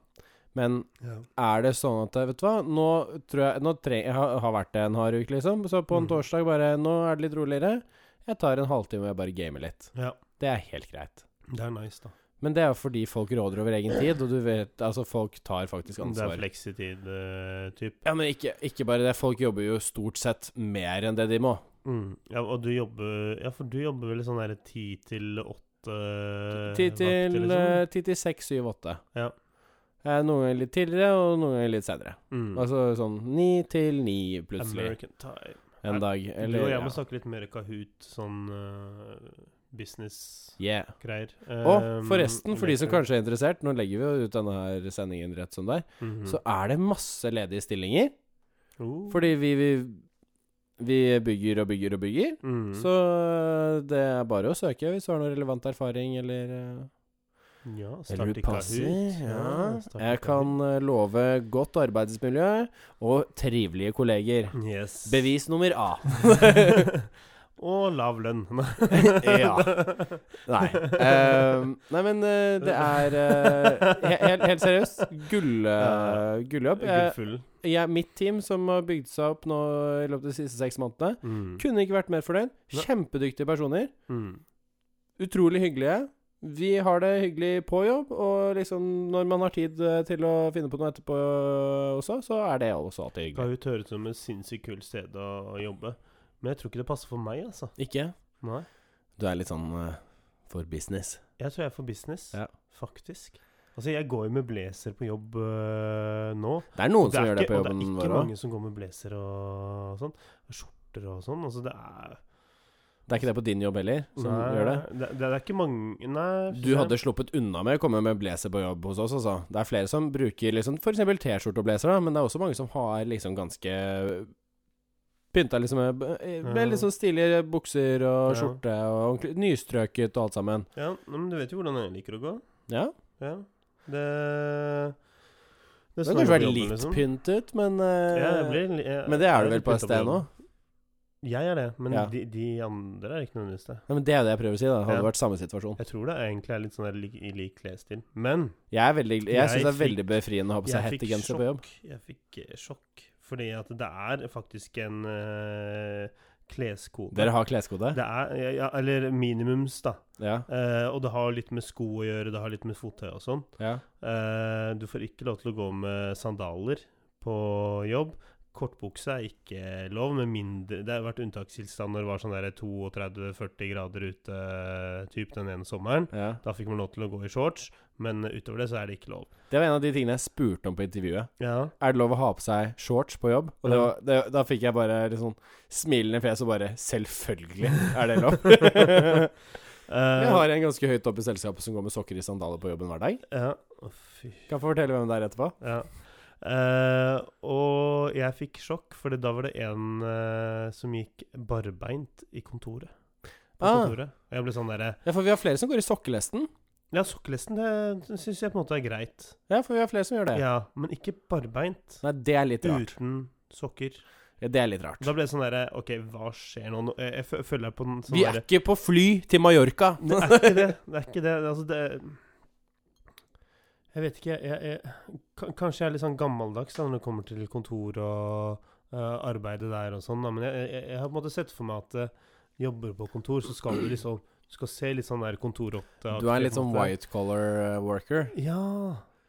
Speaker 2: Men
Speaker 1: Ja.
Speaker 2: er det sånn at Vet du hva, nå tror jeg Nå tre, jeg har, har vært det en hard uke, liksom. Så på en
Speaker 1: Mm.
Speaker 2: torsdag bare Nå er det litt roligere. Jeg tar en halvtime og jeg bare gamer litt.
Speaker 1: Ja.
Speaker 2: Det er helt greit.
Speaker 1: Det er nice, da.
Speaker 2: Men det er jo fordi folk råder over egen tid, og du vet Altså, folk tar faktisk
Speaker 1: Det er eh,
Speaker 2: ansvar.
Speaker 1: fleksitid-typ.
Speaker 2: Ja, men ikke, ikke bare det. Folk jobber jo stort sett mer enn det de må.
Speaker 1: mm. Ja, og du jobber Ja, for du jobber vel i sånn derre ti til åtte
Speaker 2: Ti
Speaker 1: vakter,
Speaker 2: til,
Speaker 1: Eh, liksom?
Speaker 2: eh, ti til seks, syv, åtte.
Speaker 1: Ja.
Speaker 2: Eh, Noen ganger litt tidligere, og noen ganger litt senere.
Speaker 1: Mm.
Speaker 2: Altså sånn ni til ni plutselig
Speaker 1: American time.
Speaker 2: en dag.
Speaker 1: du og
Speaker 2: Eller
Speaker 1: jeg må
Speaker 2: ja.
Speaker 1: snakke litt mer Kahoot, sånn eh, business-greier.
Speaker 2: Yeah.
Speaker 1: Eh,
Speaker 2: Og forresten, for de som
Speaker 1: leker.
Speaker 2: kanskje er interessert, nå legger vi jo ut denne her sendingen rett som det er,
Speaker 1: Mhm.
Speaker 2: så er det masse ledige stillinger.
Speaker 1: Oh.
Speaker 2: Fordi vi, vi, vi bygger og bygger og bygger.
Speaker 1: Mm.
Speaker 2: Så eh, det er bare å søke hvis du har noe relevant erfaring eller eh,
Speaker 1: Ja,
Speaker 2: Eller
Speaker 1: starte
Speaker 2: du
Speaker 1: ikke
Speaker 2: passer.
Speaker 1: ut.
Speaker 2: Ja.
Speaker 1: starte
Speaker 2: Jeg
Speaker 1: ikke
Speaker 2: kan eh, love godt arbeidsmiljø og trivelige kolleger.
Speaker 1: ut. Yes.
Speaker 2: Bevis nummer A.
Speaker 1: Og lav lønn.
Speaker 2: Ja. Nei. Eh, nei, men eh, det er eh, he- helt, helt seriøst. Gull, eh, gulljobb. Jeg,
Speaker 1: Gullfull.
Speaker 2: jeg, mitt team som har bygd seg opp nå i løpet av de siste seks månedene,
Speaker 1: Mm.
Speaker 2: kunne ikke vært mer fornøyd.
Speaker 1: Nei.
Speaker 2: Kjempedyktige personer.
Speaker 1: Mm.
Speaker 2: Utrolig hyggelige. Vi har det hyggelig på jobb, og liksom når man har tid eh, til å finne på noe etterpå også, så er det også alltid hyggelig.
Speaker 1: Kahoot høres ut som et sinnssykt kult sted å, å jobbe. Men jeg tror ikke det passer for meg, altså.
Speaker 2: Ikke?
Speaker 1: Nei.
Speaker 2: Du er litt sånn eh, for business.
Speaker 1: Jeg tror jeg er for business,
Speaker 2: Ja.
Speaker 1: faktisk. Altså, jeg går jo med blazer på jobb øh, nå.
Speaker 2: Det er noen
Speaker 1: Det
Speaker 2: som
Speaker 1: er
Speaker 2: gjør det
Speaker 1: ikke-
Speaker 2: på
Speaker 1: og
Speaker 2: jobben
Speaker 1: Det er
Speaker 2: vår
Speaker 1: ikke
Speaker 2: òg.
Speaker 1: mange som går med blazer og sånn. Og Skjorter og sånn. Altså, det er
Speaker 2: Det er ikke det på din jobb heller, som
Speaker 1: Nei,
Speaker 2: gjør det.
Speaker 1: Det, det er ikke mange Nei.
Speaker 2: Du hadde sluppet unna med å komme med blazer på jobb hos oss, altså. Det er flere som bruker liksom f.eks. T-skjorte og blazer, da, men det er også mange som har liksom ganske Pynta liksom med, med
Speaker 1: Ja.
Speaker 2: litt sånn stilige bukser og
Speaker 1: Ja.
Speaker 2: skjorte og ordentlig nystrøket og alt sammen.
Speaker 1: Ja, men du vet jo hvordan jeg liker å gå.
Speaker 2: Ja.
Speaker 1: Ja. Det sånn
Speaker 2: Det kan kanskje
Speaker 1: jeg
Speaker 2: være
Speaker 1: jobber,
Speaker 2: litt
Speaker 1: liksom.
Speaker 2: pyntet, men eh,
Speaker 1: Ja, jeg blir, li- jeg,
Speaker 2: Men det er
Speaker 1: jeg
Speaker 2: du vel
Speaker 1: litt
Speaker 2: på
Speaker 1: pyntet
Speaker 2: et sted nå?
Speaker 1: jobben. Jeg er det, men
Speaker 2: Ja.
Speaker 1: de, de andre er ikke nødvendigvis det.
Speaker 2: Nei, men Det er jo det jeg prøver å si, da. Det hadde
Speaker 1: Ja.
Speaker 2: vært samme situasjon.
Speaker 1: Jeg tror det egentlig er litt sånn der lik, i lik klesstil. Men
Speaker 2: Jeg, er veldig- jeg
Speaker 1: Jeg
Speaker 2: syns det er
Speaker 1: fikk-
Speaker 2: veldig befriende å ha på seg
Speaker 1: jeg fikk
Speaker 2: hettegenser på jobb.
Speaker 1: sjokk. Jeg fikk eh, sjokk. Fordi at det er faktisk en eh, kleskode.
Speaker 2: Dere har kleskode?
Speaker 1: det er, ja, ja, eller minimums, da.
Speaker 2: Ja.
Speaker 1: Eh, og det har litt med sko å gjøre, det har litt med fottøy og sånn.
Speaker 2: ja.
Speaker 1: Eh, du får ikke lov til å gå med sandaler på jobb. Kortbukse er ikke lov, med mindre Det har vært unntakstilstand når det var sånn der 32-40 grader ute, typ den ene sommeren.
Speaker 2: ja.
Speaker 1: Da fikk man lov til å gå i shorts, Men utover det så er det ikke lov.
Speaker 2: Det var en av de tingene jeg spurte om på intervjuet.
Speaker 1: Ja.
Speaker 2: Er det lov å ha på seg shorts på jobb? Og det var, det, da fikk jeg bare litt sånn smilende fjes og bare Selvfølgelig er det lov. jeg
Speaker 1: Eh,
Speaker 2: har en ganske høyt oppe i selskapet som går med sokker i sandaler på jobben hver dag.
Speaker 1: Eh, ja. Å, fy.
Speaker 2: Kan få fortelle hvem det er etterpå.
Speaker 1: Ja. Eh, og jeg fikk sjokk, for da var det en eh, som gikk barbeint i kontoret. På
Speaker 2: Ah.
Speaker 1: kontoret. Og jeg ble sånn derre
Speaker 2: Ja, for vi har flere som går i sokkelesten.
Speaker 1: Ja, sokkelesten det syns jeg på en måte er greit.
Speaker 2: Ja, for vi har flere som gjør det.
Speaker 1: Ja, Men ikke barbeint.
Speaker 2: Nei, det er litt rart.
Speaker 1: Uten sokker.
Speaker 2: Ja, det er litt rart.
Speaker 1: Da ble det sånn derre OK, hva skjer nå? Nå- Jeg, jeg fø- føler jeg på den sånn
Speaker 2: Vi er
Speaker 1: derre
Speaker 2: ikke på fly til Mallorca.
Speaker 1: Det er ikke det. Det er ikke det. Altså, det Jeg vet ikke. Jeg, jeg, kan- kanskje jeg er litt sånn gammeldags da, når det kommer til kontor og eh, arbeidet der og sånn, da. men jeg, jeg, jeg har på en måte sett for meg at eh, jobber på kontor, så skal du liksom Du skal se litt sånn der kontorrotte.
Speaker 2: Du er litt sånn white collar eh, worker.
Speaker 1: Ja,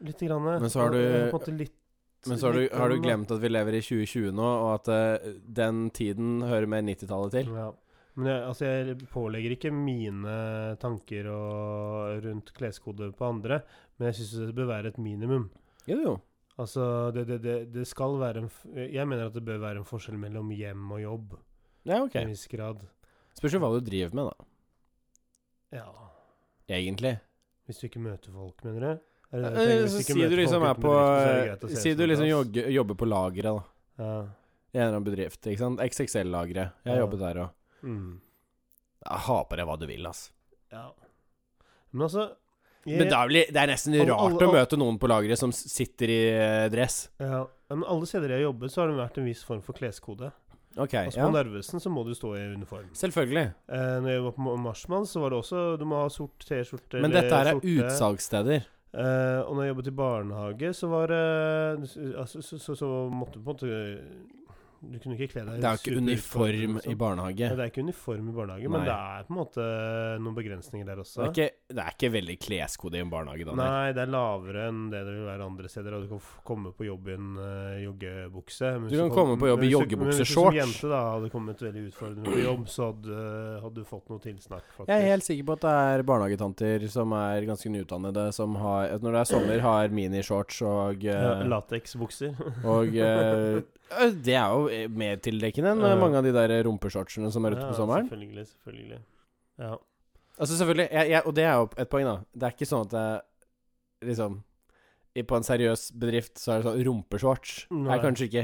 Speaker 1: lite grann.
Speaker 2: Men så har du-
Speaker 1: Jeg på en måte litt
Speaker 2: Men så sånn, har du,
Speaker 1: litt
Speaker 2: har du
Speaker 1: grann, da.
Speaker 2: glemt at vi lever i 2020 nå, og at eh, den tiden hører med 90-tallet til.
Speaker 1: Ja. Men jeg, altså jeg pålegger ikke mine tanker og rundt kleskode på andre, men jeg syns det bør være et minimum.
Speaker 2: Jo, jo.
Speaker 1: Altså, det, det, det, det skal være en f Jeg mener at det bør være en forskjell mellom hjem og jobb,
Speaker 2: Ja,
Speaker 1: i en
Speaker 2: ok.
Speaker 1: viss grad.
Speaker 2: Spørs jo hva du driver med, da.
Speaker 1: Ja
Speaker 2: Egentlig.
Speaker 1: Hvis du ikke møter folk, mener du? Er det det jeg
Speaker 2: Eh,
Speaker 1: tenker? Hvis
Speaker 2: Så
Speaker 1: ikke
Speaker 2: sier
Speaker 1: møter
Speaker 2: du liksom
Speaker 1: folk uten
Speaker 2: er på
Speaker 1: bedrift, så er det greit å se
Speaker 2: Si
Speaker 1: som
Speaker 2: du
Speaker 1: en
Speaker 2: liksom
Speaker 1: plass.
Speaker 2: jogge, jobber på lageret, da.
Speaker 1: Ja.
Speaker 2: I en eller annen bedrift. ikke sant? XXL-lageret. Jeg har
Speaker 1: Ja.
Speaker 2: jobbet der og
Speaker 1: Mm.
Speaker 2: Ja, Ha på deg hva du vil, ass.
Speaker 1: ja. Men altså jeg,
Speaker 2: Men da er vel, det er nesten
Speaker 1: Alle-
Speaker 2: rart
Speaker 1: alle-
Speaker 2: å møte noen på lageret som s- sitter i eh, dress.
Speaker 1: ja, men Alle steder jeg har jobbet, så har det vært en viss form for kleskode.
Speaker 2: Ok,
Speaker 1: Altså På
Speaker 2: ja.
Speaker 1: Narvesen så må du stå i uniform.
Speaker 2: Selvfølgelig.
Speaker 1: Eh, når jeg var på Marshman, så var det også Du må ha sort T-skjorte
Speaker 2: Men
Speaker 1: eller
Speaker 2: dette her er
Speaker 1: sorte.
Speaker 2: utsalgssteder.
Speaker 1: Eh, og når jeg jobbet i barnehage, så var det altså, så, så, så måtte du på en måte Du kunne ikke kle deg
Speaker 2: Det er jo ikke
Speaker 1: super
Speaker 2: uniform
Speaker 1: utformet,
Speaker 2: i
Speaker 1: liksom.
Speaker 2: barnehage.
Speaker 1: Nei, Det er ikke uniform i barnehage,
Speaker 2: Nei.
Speaker 1: men det er på en måte noen begrensninger der
Speaker 2: Så det
Speaker 1: også.
Speaker 2: er ikke, det er ikke veldig kleskode i en barnehage, da. nei.
Speaker 1: Nei, det er lavere enn det det vil være andre steder. Og du kan f- komme på jobb i en eh, joggebukse. men hvis
Speaker 2: Du kan
Speaker 1: kom-
Speaker 2: komme på jobb
Speaker 1: men
Speaker 2: i
Speaker 1: hvis du-
Speaker 2: joggebukse,
Speaker 1: men hvis du
Speaker 2: shorts.
Speaker 1: Som jente da hadde kommet veldig utfordrende på jobb, så hadde, hadde du fått noe tilsnakk, faktisk.
Speaker 2: Jeg er helt sikker på at det er barnehagetanter som er ganske nyutdannede, som har at Når det er sommer, har minishorts og eh,
Speaker 1: Ja, Lateksbukser.
Speaker 2: Og eh, eh, det er jo eh, mer tildekkende enn eh,
Speaker 1: Ja.
Speaker 2: mange av de der rumpeshortsene som er ute på sommeren.
Speaker 1: Selvfølgelig, selvfølgelig. Ja.
Speaker 2: Altså selvfølgelig, jeg, jeg, Og det er jo et poeng, da. Det er ikke sånn at det er liksom i- På en seriøs bedrift så er det sånn rumpeshorts
Speaker 1: Nei.
Speaker 2: er kanskje ikke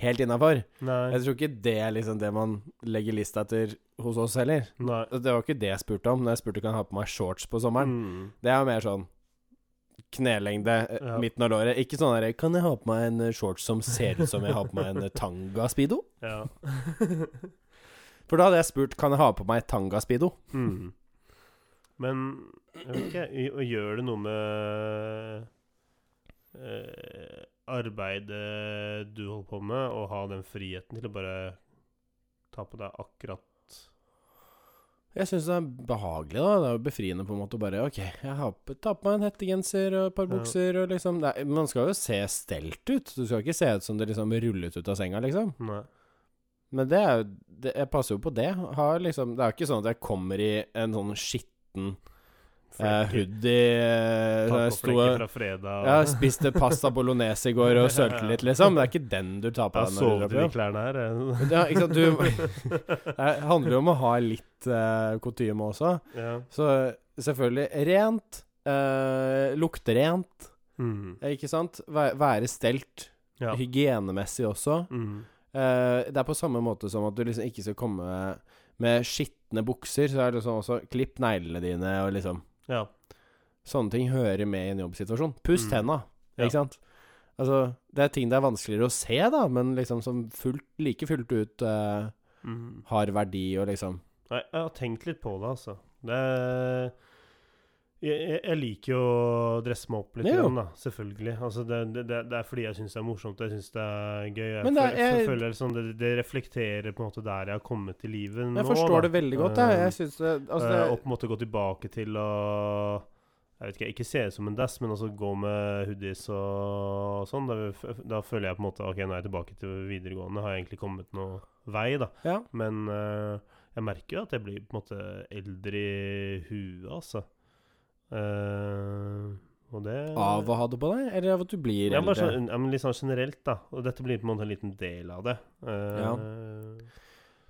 Speaker 2: helt innafor.
Speaker 1: Nei.
Speaker 2: Jeg tror ikke det er liksom det man legger lista etter hos oss heller.
Speaker 1: Nei.
Speaker 2: Og Det var ikke det jeg spurte om når jeg spurte kan jeg ha på meg shorts på sommeren.
Speaker 1: Mm.
Speaker 2: Det er jo mer sånn knelengde, eh,
Speaker 1: Ja.
Speaker 2: midten av låret. Ikke sånn derre Kan jeg ha på meg en eh, shorts som ser ut som jeg har på meg en eh, tanga-speedo?
Speaker 1: Ja.
Speaker 2: For da hadde jeg spurt Kan jeg ha på meg tanga-speedo.
Speaker 1: Mm. Men jeg vet ikke, i- og gjør det noe med eh, arbeidet du holder på med, å ha den friheten til å bare ta på deg akkurat
Speaker 2: Jeg syns det er behagelig, da. Det er jo befriende på en måte å bare OK, jeg har på, ta på meg en hettegenser og et par
Speaker 1: Ja.
Speaker 2: bukser og liksom det er, Man skal jo se stelt ut. Du skal ikke se ut som det liksom rullet ut av senga, liksom.
Speaker 1: Nei.
Speaker 2: Men det er jo det, Jeg passer jo på det. Har liksom, det er jo ikke sånn at jeg kommer i en sånn skitten eh,
Speaker 1: Flekker.
Speaker 2: hoodie eh, sto,
Speaker 1: Tacoflekker fra fredag.
Speaker 2: ja, Spiste pasta bolognese i går og sølte litt, liksom. Det er ikke den du tar på
Speaker 1: Jeg
Speaker 2: deg. når du
Speaker 1: sovet i
Speaker 2: drar på
Speaker 1: de
Speaker 2: jobb.
Speaker 1: klærne her. eh.
Speaker 2: Ja, ikke sant, du, det handler jo om å ha litt eh, kutyme også.
Speaker 1: ja.
Speaker 2: Så eh, selvfølgelig rent. Eh, lukte rent,
Speaker 1: Mm.
Speaker 2: eh, ikke sant? Væ- Være stelt.
Speaker 1: ja.
Speaker 2: Hygienemessig også.
Speaker 1: Mm.
Speaker 2: Eh, det er på samme måte som at du liksom ikke skal komme med skitne bukser. Så er det liksom også klipp neglene dine og liksom
Speaker 1: ja.
Speaker 2: Sånne ting hører med i en jobbsituasjon. Puss
Speaker 1: Mm.
Speaker 2: tenna,
Speaker 1: Ja.
Speaker 2: ikke sant? Altså, det er ting det er vanskeligere å se, da, men liksom som fullt, like fullt ut eh,
Speaker 1: Mm.
Speaker 2: har verdi og liksom
Speaker 1: Nei, jeg har tenkt litt på det, altså. Det er, jeg, jeg- jeg liker jo å dresse meg opp litt,
Speaker 2: Ja, jo.
Speaker 1: grann, da, selvfølgelig. Altså, det, det, det er fordi jeg syns det er morsomt, og jeg syns det er gøy. Jeg,
Speaker 2: Men det er-
Speaker 1: føl- jeg,
Speaker 2: jeg-
Speaker 1: føler liksom det, det reflekterer på en måte der jeg har kommet i livet nå.
Speaker 2: Jeg forstår
Speaker 1: da.
Speaker 2: det veldig godt, jeg.
Speaker 1: Eh,
Speaker 2: Jeg syns det Altså,
Speaker 1: eh, og
Speaker 2: det,
Speaker 1: på en måte gå tilbake til å jeg vet ikke, ikke se ut som en dass, men altså gå med hoodies og sånn. Da, da føler jeg på en måte Ok, nå er jeg tilbake til videregående. Har jeg egentlig kommet noe vei, da?
Speaker 2: ja.
Speaker 1: Men eh, jeg merker jo at jeg blir på en måte eldre i huet, altså. Eh, Og det
Speaker 2: Av å ha det på deg, eller av at du blir
Speaker 1: ja,
Speaker 2: eldre?
Speaker 1: bare sånn, ja, men litt sånn generelt, da. Og dette blir på en måte en liten del av det. Eh,
Speaker 2: Ja.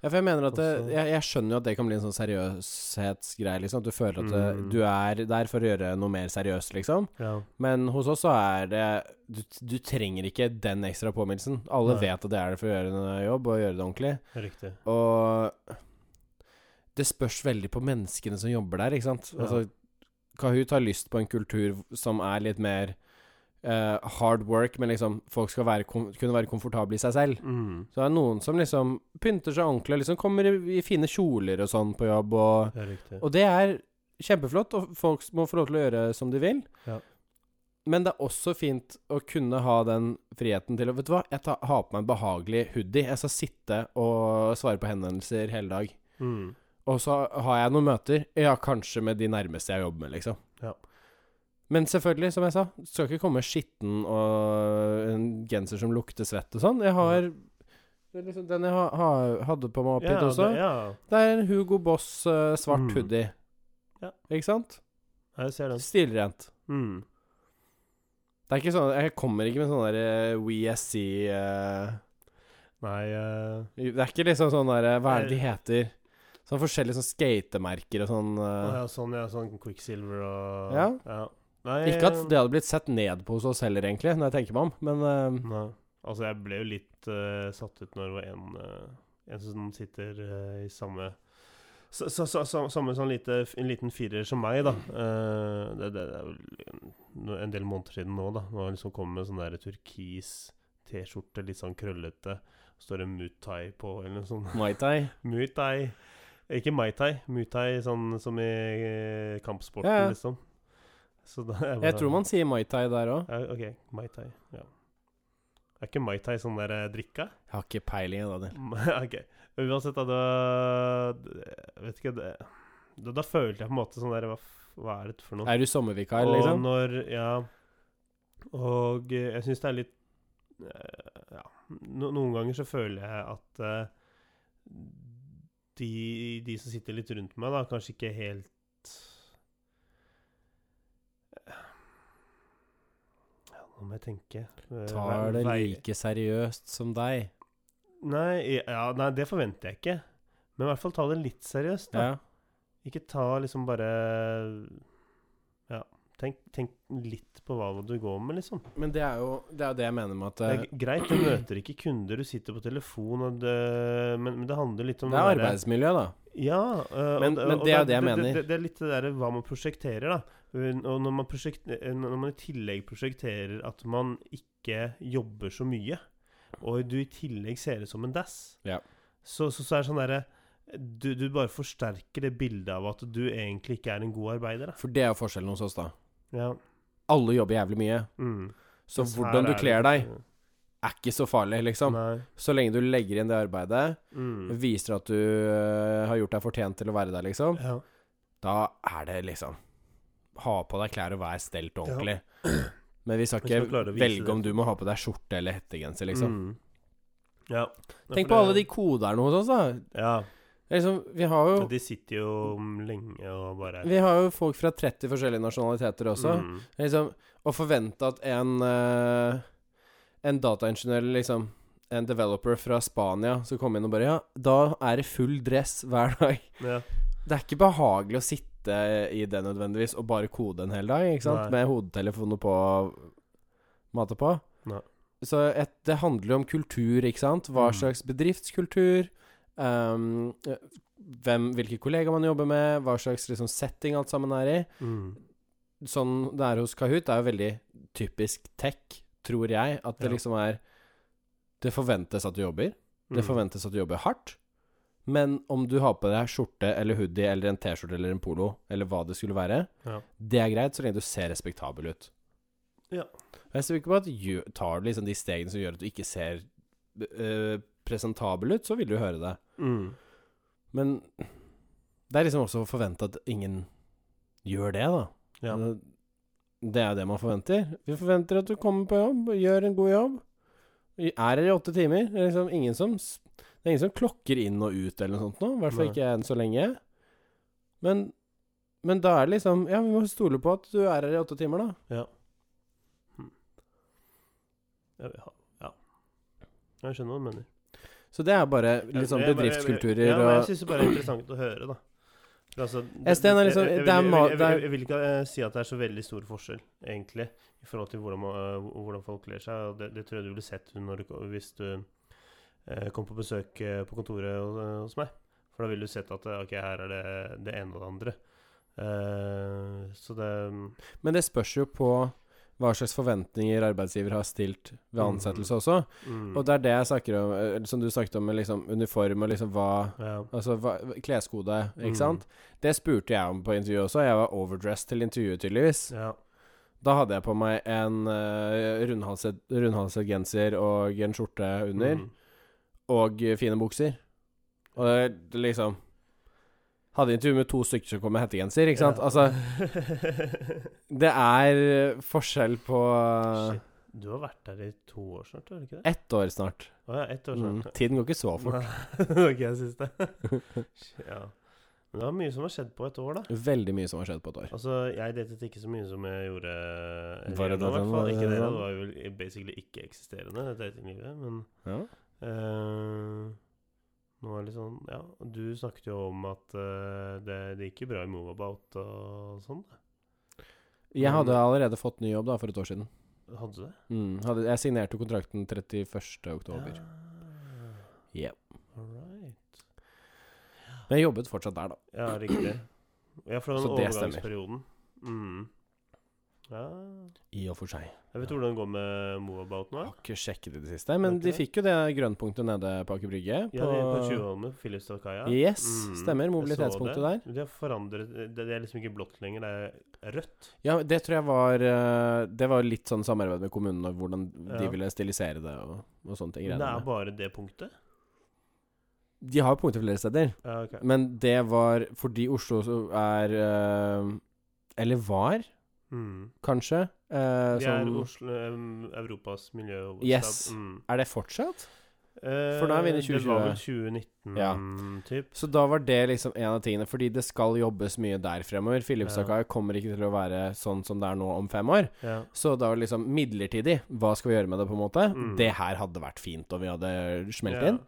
Speaker 2: Ja, for jeg mener at det,
Speaker 1: Også-
Speaker 2: jeg, jeg skjønner jo at det kan bli en sånn seriøshetsgreie, liksom. At du føler at det,
Speaker 1: Mm.
Speaker 2: du er der for å gjøre noe mer seriøst, liksom.
Speaker 1: ja.
Speaker 2: Men hos oss så er det Du, du trenger ikke den ekstra påminnelsen. Alle
Speaker 1: Nei.
Speaker 2: vet at det er det for å gjøre en jobb, og gjøre det ordentlig.
Speaker 1: Riktig.
Speaker 2: Og det spørs veldig på menneskene som jobber der, ikke sant.
Speaker 1: Ja.
Speaker 2: Altså, Kahoot har lyst på en kultur som er litt mer eh, hard work, men liksom folk skal være, kom- kunne være komfortable i seg selv.
Speaker 1: Mm.
Speaker 2: Så det er noen som liksom pynter seg ordentlig og liksom kommer i, i fine kjoler og sånn på jobb, og,
Speaker 1: Det er riktig.
Speaker 2: og det er kjempeflott, og folk må få lov til å gjøre som de vil.
Speaker 1: Ja.
Speaker 2: Men det er også fint å kunne ha den friheten til å Vet du hva, jeg tar, har på meg en behagelig hoodie. Jeg skal sitte og svare på henvendelser hele dag.
Speaker 1: Mm.
Speaker 2: Og så har jeg noen møter. Ja, kanskje med de nærmeste jeg jobber med, liksom.
Speaker 1: Ja.
Speaker 2: Men selvfølgelig, som jeg sa, skal ikke komme skitten og en genser som lukter svett og sånn. Jeg har det er liksom Den jeg ha, ha, hadde på meg opp hit
Speaker 1: Ja,
Speaker 2: også,
Speaker 1: det,
Speaker 2: det,
Speaker 1: ja.
Speaker 2: er en Hugo Boss eh, svart
Speaker 1: Mm.
Speaker 2: hoodie.
Speaker 1: Ja.
Speaker 2: Ikke sant?
Speaker 1: Jeg ser den.
Speaker 2: Stilrent.
Speaker 1: Mm.
Speaker 2: Det er ikke sånn Jeg kommer ikke med sånn derre WeSC
Speaker 1: Nei eh,
Speaker 2: eh, Det er ikke liksom sånn derre Hva er det de heter? Sånn forskjellige sånn skatemerker og sånn. eh.
Speaker 1: å ja, Sånn, ja. Sånn Quicksilver og
Speaker 2: Ja.
Speaker 1: Nei, eh,
Speaker 2: Ikke at det hadde blitt sett ned på hos oss heller, egentlig, når jeg tenker meg om, men eh,
Speaker 1: Nei. Altså, jeg ble jo litt eh, satt ut når det var en, eh, en som sitter eh, i samme sa- sa- sa- sa- Samme sånn lite, en liten firer som meg, da. Eh, det, det, det er vel en, en del måneder siden nå, da. Når han liksom kom med sånn der turkis T-skjorte, litt sånn krøllete. Står det Mutai på, eller noe sånt.
Speaker 2: Mai Tai
Speaker 1: Muay Thai. Ikke Mai Thai, Muay Thai sånn som i eh, kampsporten,
Speaker 2: Ja, ja.
Speaker 1: liksom. Så da er
Speaker 2: Jeg
Speaker 1: bare-
Speaker 2: tror man sier Mai Tai der òg.
Speaker 1: ja, OK, Mai Tai. Ja. Er ikke Mai Tai sånn der eh, drikka?
Speaker 2: Jeg har ikke peiling, jeg, Daniel.
Speaker 1: OK. Men uansett, da, da Jeg vet ikke det, da, da følte jeg på en måte sånn der Hva, f- hva er dette for noe?
Speaker 2: Er du sommervikar,
Speaker 1: og
Speaker 2: liksom?
Speaker 1: når Ja. Og eh, jeg syns det er litt eh, Ja. No, noen ganger så føler jeg at eh, de, de som sitter litt rundt meg, da, kanskje ikke helt Ja, nå må jeg tenke. Eh,
Speaker 2: Tar det
Speaker 1: vei-
Speaker 2: like seriøst som deg.
Speaker 1: Nei, ja, nei, det forventer jeg ikke. Men i hvert fall ta det litt seriøst. da.
Speaker 2: Ja.
Speaker 1: Ikke ta liksom bare Ja, tenk, tenk litt på hva du går med, liksom.
Speaker 2: Men det er jo det, er jo det jeg mener med at
Speaker 1: Det
Speaker 2: eh,
Speaker 1: er g- greit, du møter ikke kunder, du sitter på telefon, og det, men, men det handler litt om
Speaker 2: det er
Speaker 1: den derre-
Speaker 2: arbeidsmiljø, da.
Speaker 1: Ja. øh,
Speaker 2: Men-
Speaker 1: og,
Speaker 2: men
Speaker 1: og
Speaker 2: det er jo det jeg mener.
Speaker 1: Det, det, er litt det derre hva man prosjekterer, da. Og når man, prosjekt, eh, når man i tillegg prosjekterer at man ikke jobber så mye, og du i tillegg ser ut som en dass,
Speaker 2: Ja.
Speaker 1: så, så, så er det sånn derre du, du bare forsterker det bildet av at du egentlig ikke er en god arbeider, da.
Speaker 2: For det er jo forskjellen hos oss, da.
Speaker 1: Ja.
Speaker 2: Alle jobber jævlig mye,
Speaker 1: Mm.
Speaker 2: så
Speaker 1: Mens her
Speaker 2: hvordan du
Speaker 1: er det
Speaker 2: kler deg,
Speaker 1: ikke-
Speaker 2: er ikke så farlig, liksom.
Speaker 1: Nei.
Speaker 2: Så lenge du legger inn det arbeidet,
Speaker 1: Mm.
Speaker 2: viser at du eh, har gjort deg fortjent til å være der, liksom.
Speaker 1: Ja.
Speaker 2: Da er det liksom Ha på deg klær og vær stelt og
Speaker 1: Ja.
Speaker 2: ordentlig. Men vi skal
Speaker 1: Vi skal
Speaker 2: ikke
Speaker 1: klare å vise
Speaker 2: velge
Speaker 1: det.
Speaker 2: om du må ha på deg skjorte eller hettegenser, liksom.
Speaker 1: Mm. Ja.
Speaker 2: Tenk på alle de koderne hos oss, da.
Speaker 1: Ja.
Speaker 2: Det er Liksom, vi har jo
Speaker 1: De sitter jo lenge og bare
Speaker 2: vi har jo folk fra 30 forskjellige nasjonaliteter også.
Speaker 1: Mm.
Speaker 2: Det er Liksom, å forvente at en eh, En dataingeniør, eller liksom en developer fra Spania som kommer inn og bare Ja, da er det full dress hver dag.
Speaker 1: Ja.
Speaker 2: Det er ikke behagelig å sitte i det nødvendigvis og bare kode en hel dag, ikke sant?
Speaker 1: Nei.
Speaker 2: Med hodetelefoner på og mate på.
Speaker 1: Nei.
Speaker 2: Så et, det handler jo om kultur, ikke sant? Hva
Speaker 1: Mm.
Speaker 2: slags bedriftskultur, ehm, hvem, hvilke kollegaer man jobber med, hva slags liksom, setting alt sammen er i.
Speaker 1: Mm.
Speaker 2: Sånn det er hos Kahoot, det er jo veldig typisk tech, tror jeg, at det
Speaker 1: Ja.
Speaker 2: liksom er Det forventes at du jobber.
Speaker 1: Mm.
Speaker 2: Det forventes at du jobber hardt. Men om du har på deg skjorte eller hoodie eller en T-skjorte eller en polo, eller hva det skulle være,
Speaker 1: Ja.
Speaker 2: det er greit så lenge du ser respektabel ut.
Speaker 1: Ja.
Speaker 2: Og Jeg tror ikke på at gjø- tar du liksom de stegene som gjør at du ikke ser eh, presentabel ut, så vil du høre det.
Speaker 1: Mm.
Speaker 2: Men det er liksom også å forvente at ingen gjør det, da.
Speaker 1: Ja.
Speaker 2: Det- Det er jo det man forventer. Vi forventer at du kommer på jobb, gjør en god jobb, er her i åtte timer. Det er liksom ingen som s- Det er ingen som klokker inn og ut eller noe sånt nå, i hvert fall
Speaker 1: Nei.
Speaker 2: ikke enn så lenge. Men Men da er det liksom Ja, vi må stole på at du er her i åtte timer, da.
Speaker 1: Ja, ja. ja. Jeg skjønner hva du mener.
Speaker 2: Så det er bare litt sånn
Speaker 1: Jeg- jeg bare-
Speaker 2: bedriftskulturer
Speaker 1: Ja, men jeg
Speaker 2: og
Speaker 1: syns det bare er interessant å høre, da. For Altså, det-
Speaker 2: Sten er liksom-
Speaker 1: jeg, jeg,
Speaker 2: det er
Speaker 1: vil-
Speaker 2: ma-
Speaker 1: jeg,
Speaker 2: det
Speaker 1: vil-
Speaker 2: er-
Speaker 1: jeg, vil ikke eh, si at det er så veldig stor forskjell, egentlig, i forhold til hvordan, man- eh, hvordan folk kler seg. og Det, det tror jeg du ville sett når du, ko- hvis du eh, kom på besøk eh, på kontoret hos, eh, hos meg. For da ville du sett at eh, ok, her er det det ene og det andre. Eh, så det
Speaker 2: Men det spørs jo på hva slags forventninger arbeidsgiver har stilt ved
Speaker 1: Mhm.
Speaker 2: ansettelse også.
Speaker 1: mm,
Speaker 2: Og det er det jeg snakker om, eh, som du snakket om med liksom uniform og liksom hva
Speaker 1: ja.
Speaker 2: Altså hva, kleskode, ikke
Speaker 1: Mhm.
Speaker 2: sant? Det spurte jeg om på intervjuet også. Jeg var overdressed til intervjuet, tydeligvis.
Speaker 1: Ja.
Speaker 2: Da hadde jeg på meg en eh, rundhalset, rundhalset genser og en skjorte under,
Speaker 1: Mm.
Speaker 2: og eh, fine bukser. Og det, det liksom Hadde intervju med to stykker som kom med hettegenser, ikke sant?
Speaker 1: Ja.
Speaker 2: Altså, det er eh, forskjell på
Speaker 1: Shit. Du har vært der i to år snart, har du ikke det?
Speaker 2: ett år snart.
Speaker 1: Å ja, ett år
Speaker 2: Mm.
Speaker 1: snart.
Speaker 2: Tiden går ikke så fort.
Speaker 1: Nei, det var ikke jeg syns det. ja. Men det var mye som har skjedd på et år, da.
Speaker 2: Veldig mye som har skjedd på et år.
Speaker 1: Altså, jeg datet ikke så mye som jeg gjorde
Speaker 2: Var
Speaker 1: nå, i
Speaker 2: det da
Speaker 1: hvert
Speaker 2: den
Speaker 1: fall.
Speaker 2: var-
Speaker 1: Ikke dere, det var jo vel basically ikke-eksisterende, det datinglivet. Men
Speaker 2: Ja.
Speaker 1: eh, nå er det litt sånn Ja, du snakket jo om at eh, det, det gikk jo bra i Moveabout og sånn.
Speaker 2: Jeg
Speaker 1: Mm.
Speaker 2: hadde allerede fått ny jobb da for et år siden.
Speaker 1: Hadde du det?
Speaker 2: Mm, hadde, jeg signerte kontrakten 31. oktober.
Speaker 1: Ja.
Speaker 2: Yep.
Speaker 1: Ah. All right.
Speaker 2: Men jeg jobbet fortsatt der, da.
Speaker 1: Ja, riktig. Ja, for det var den
Speaker 2: Så det stemmer.
Speaker 1: overgangsperioden. Mm. Ja
Speaker 2: I og for seg.
Speaker 1: Jeg vet hvordan det går med Moabout nå.
Speaker 2: Jeg
Speaker 1: jeg.
Speaker 2: har ikke sjekket det i det siste. Men
Speaker 1: Har ikke
Speaker 2: de
Speaker 1: det?
Speaker 2: fikk jo det grønnpunktet nede på Aker
Speaker 1: Ja,
Speaker 2: Brygge.
Speaker 1: de er på Tjuvholmen, Filipstadkaia.
Speaker 2: Yes,
Speaker 1: Mm,
Speaker 2: stemmer, mobilitetspunktet
Speaker 1: der. De har forandret det, det er liksom ikke blått lenger, det er rødt.
Speaker 2: Ja, det tror jeg var eh, Det var litt sånn samarbeid med kommunen og hvordan de
Speaker 1: Ja.
Speaker 2: ville stilisere det og, og sånne ting.
Speaker 1: Men det
Speaker 2: greiene
Speaker 1: er
Speaker 2: med.
Speaker 1: bare det punktet?
Speaker 2: De har punkter flere steder,
Speaker 1: Ja, ok.
Speaker 2: men det var fordi Oslo så er eh, Eller var,
Speaker 1: Mm.
Speaker 2: kanskje. eh,
Speaker 1: De er
Speaker 2: som-
Speaker 1: Oslo, em, Europas miljøhovedstad.
Speaker 2: Yes.
Speaker 1: Mm.
Speaker 2: er det fortsatt?
Speaker 1: Eh,
Speaker 2: For da er vi inne i
Speaker 1: Det var
Speaker 2: 2020.
Speaker 1: vel 2019,
Speaker 2: Ja.
Speaker 1: typ.
Speaker 2: Så da var det liksom en av tingene, fordi det skal jobbes mye der fremover. Filipstadkaia kommer ikke til å være sånn som det er nå om fem år.
Speaker 1: Ja.
Speaker 2: Så da var det liksom midlertidig. Hva skal vi gjøre med det, på en måte?
Speaker 1: Mm.
Speaker 2: Det her hadde vært fint om vi hadde smelt
Speaker 1: Ja.
Speaker 2: inn.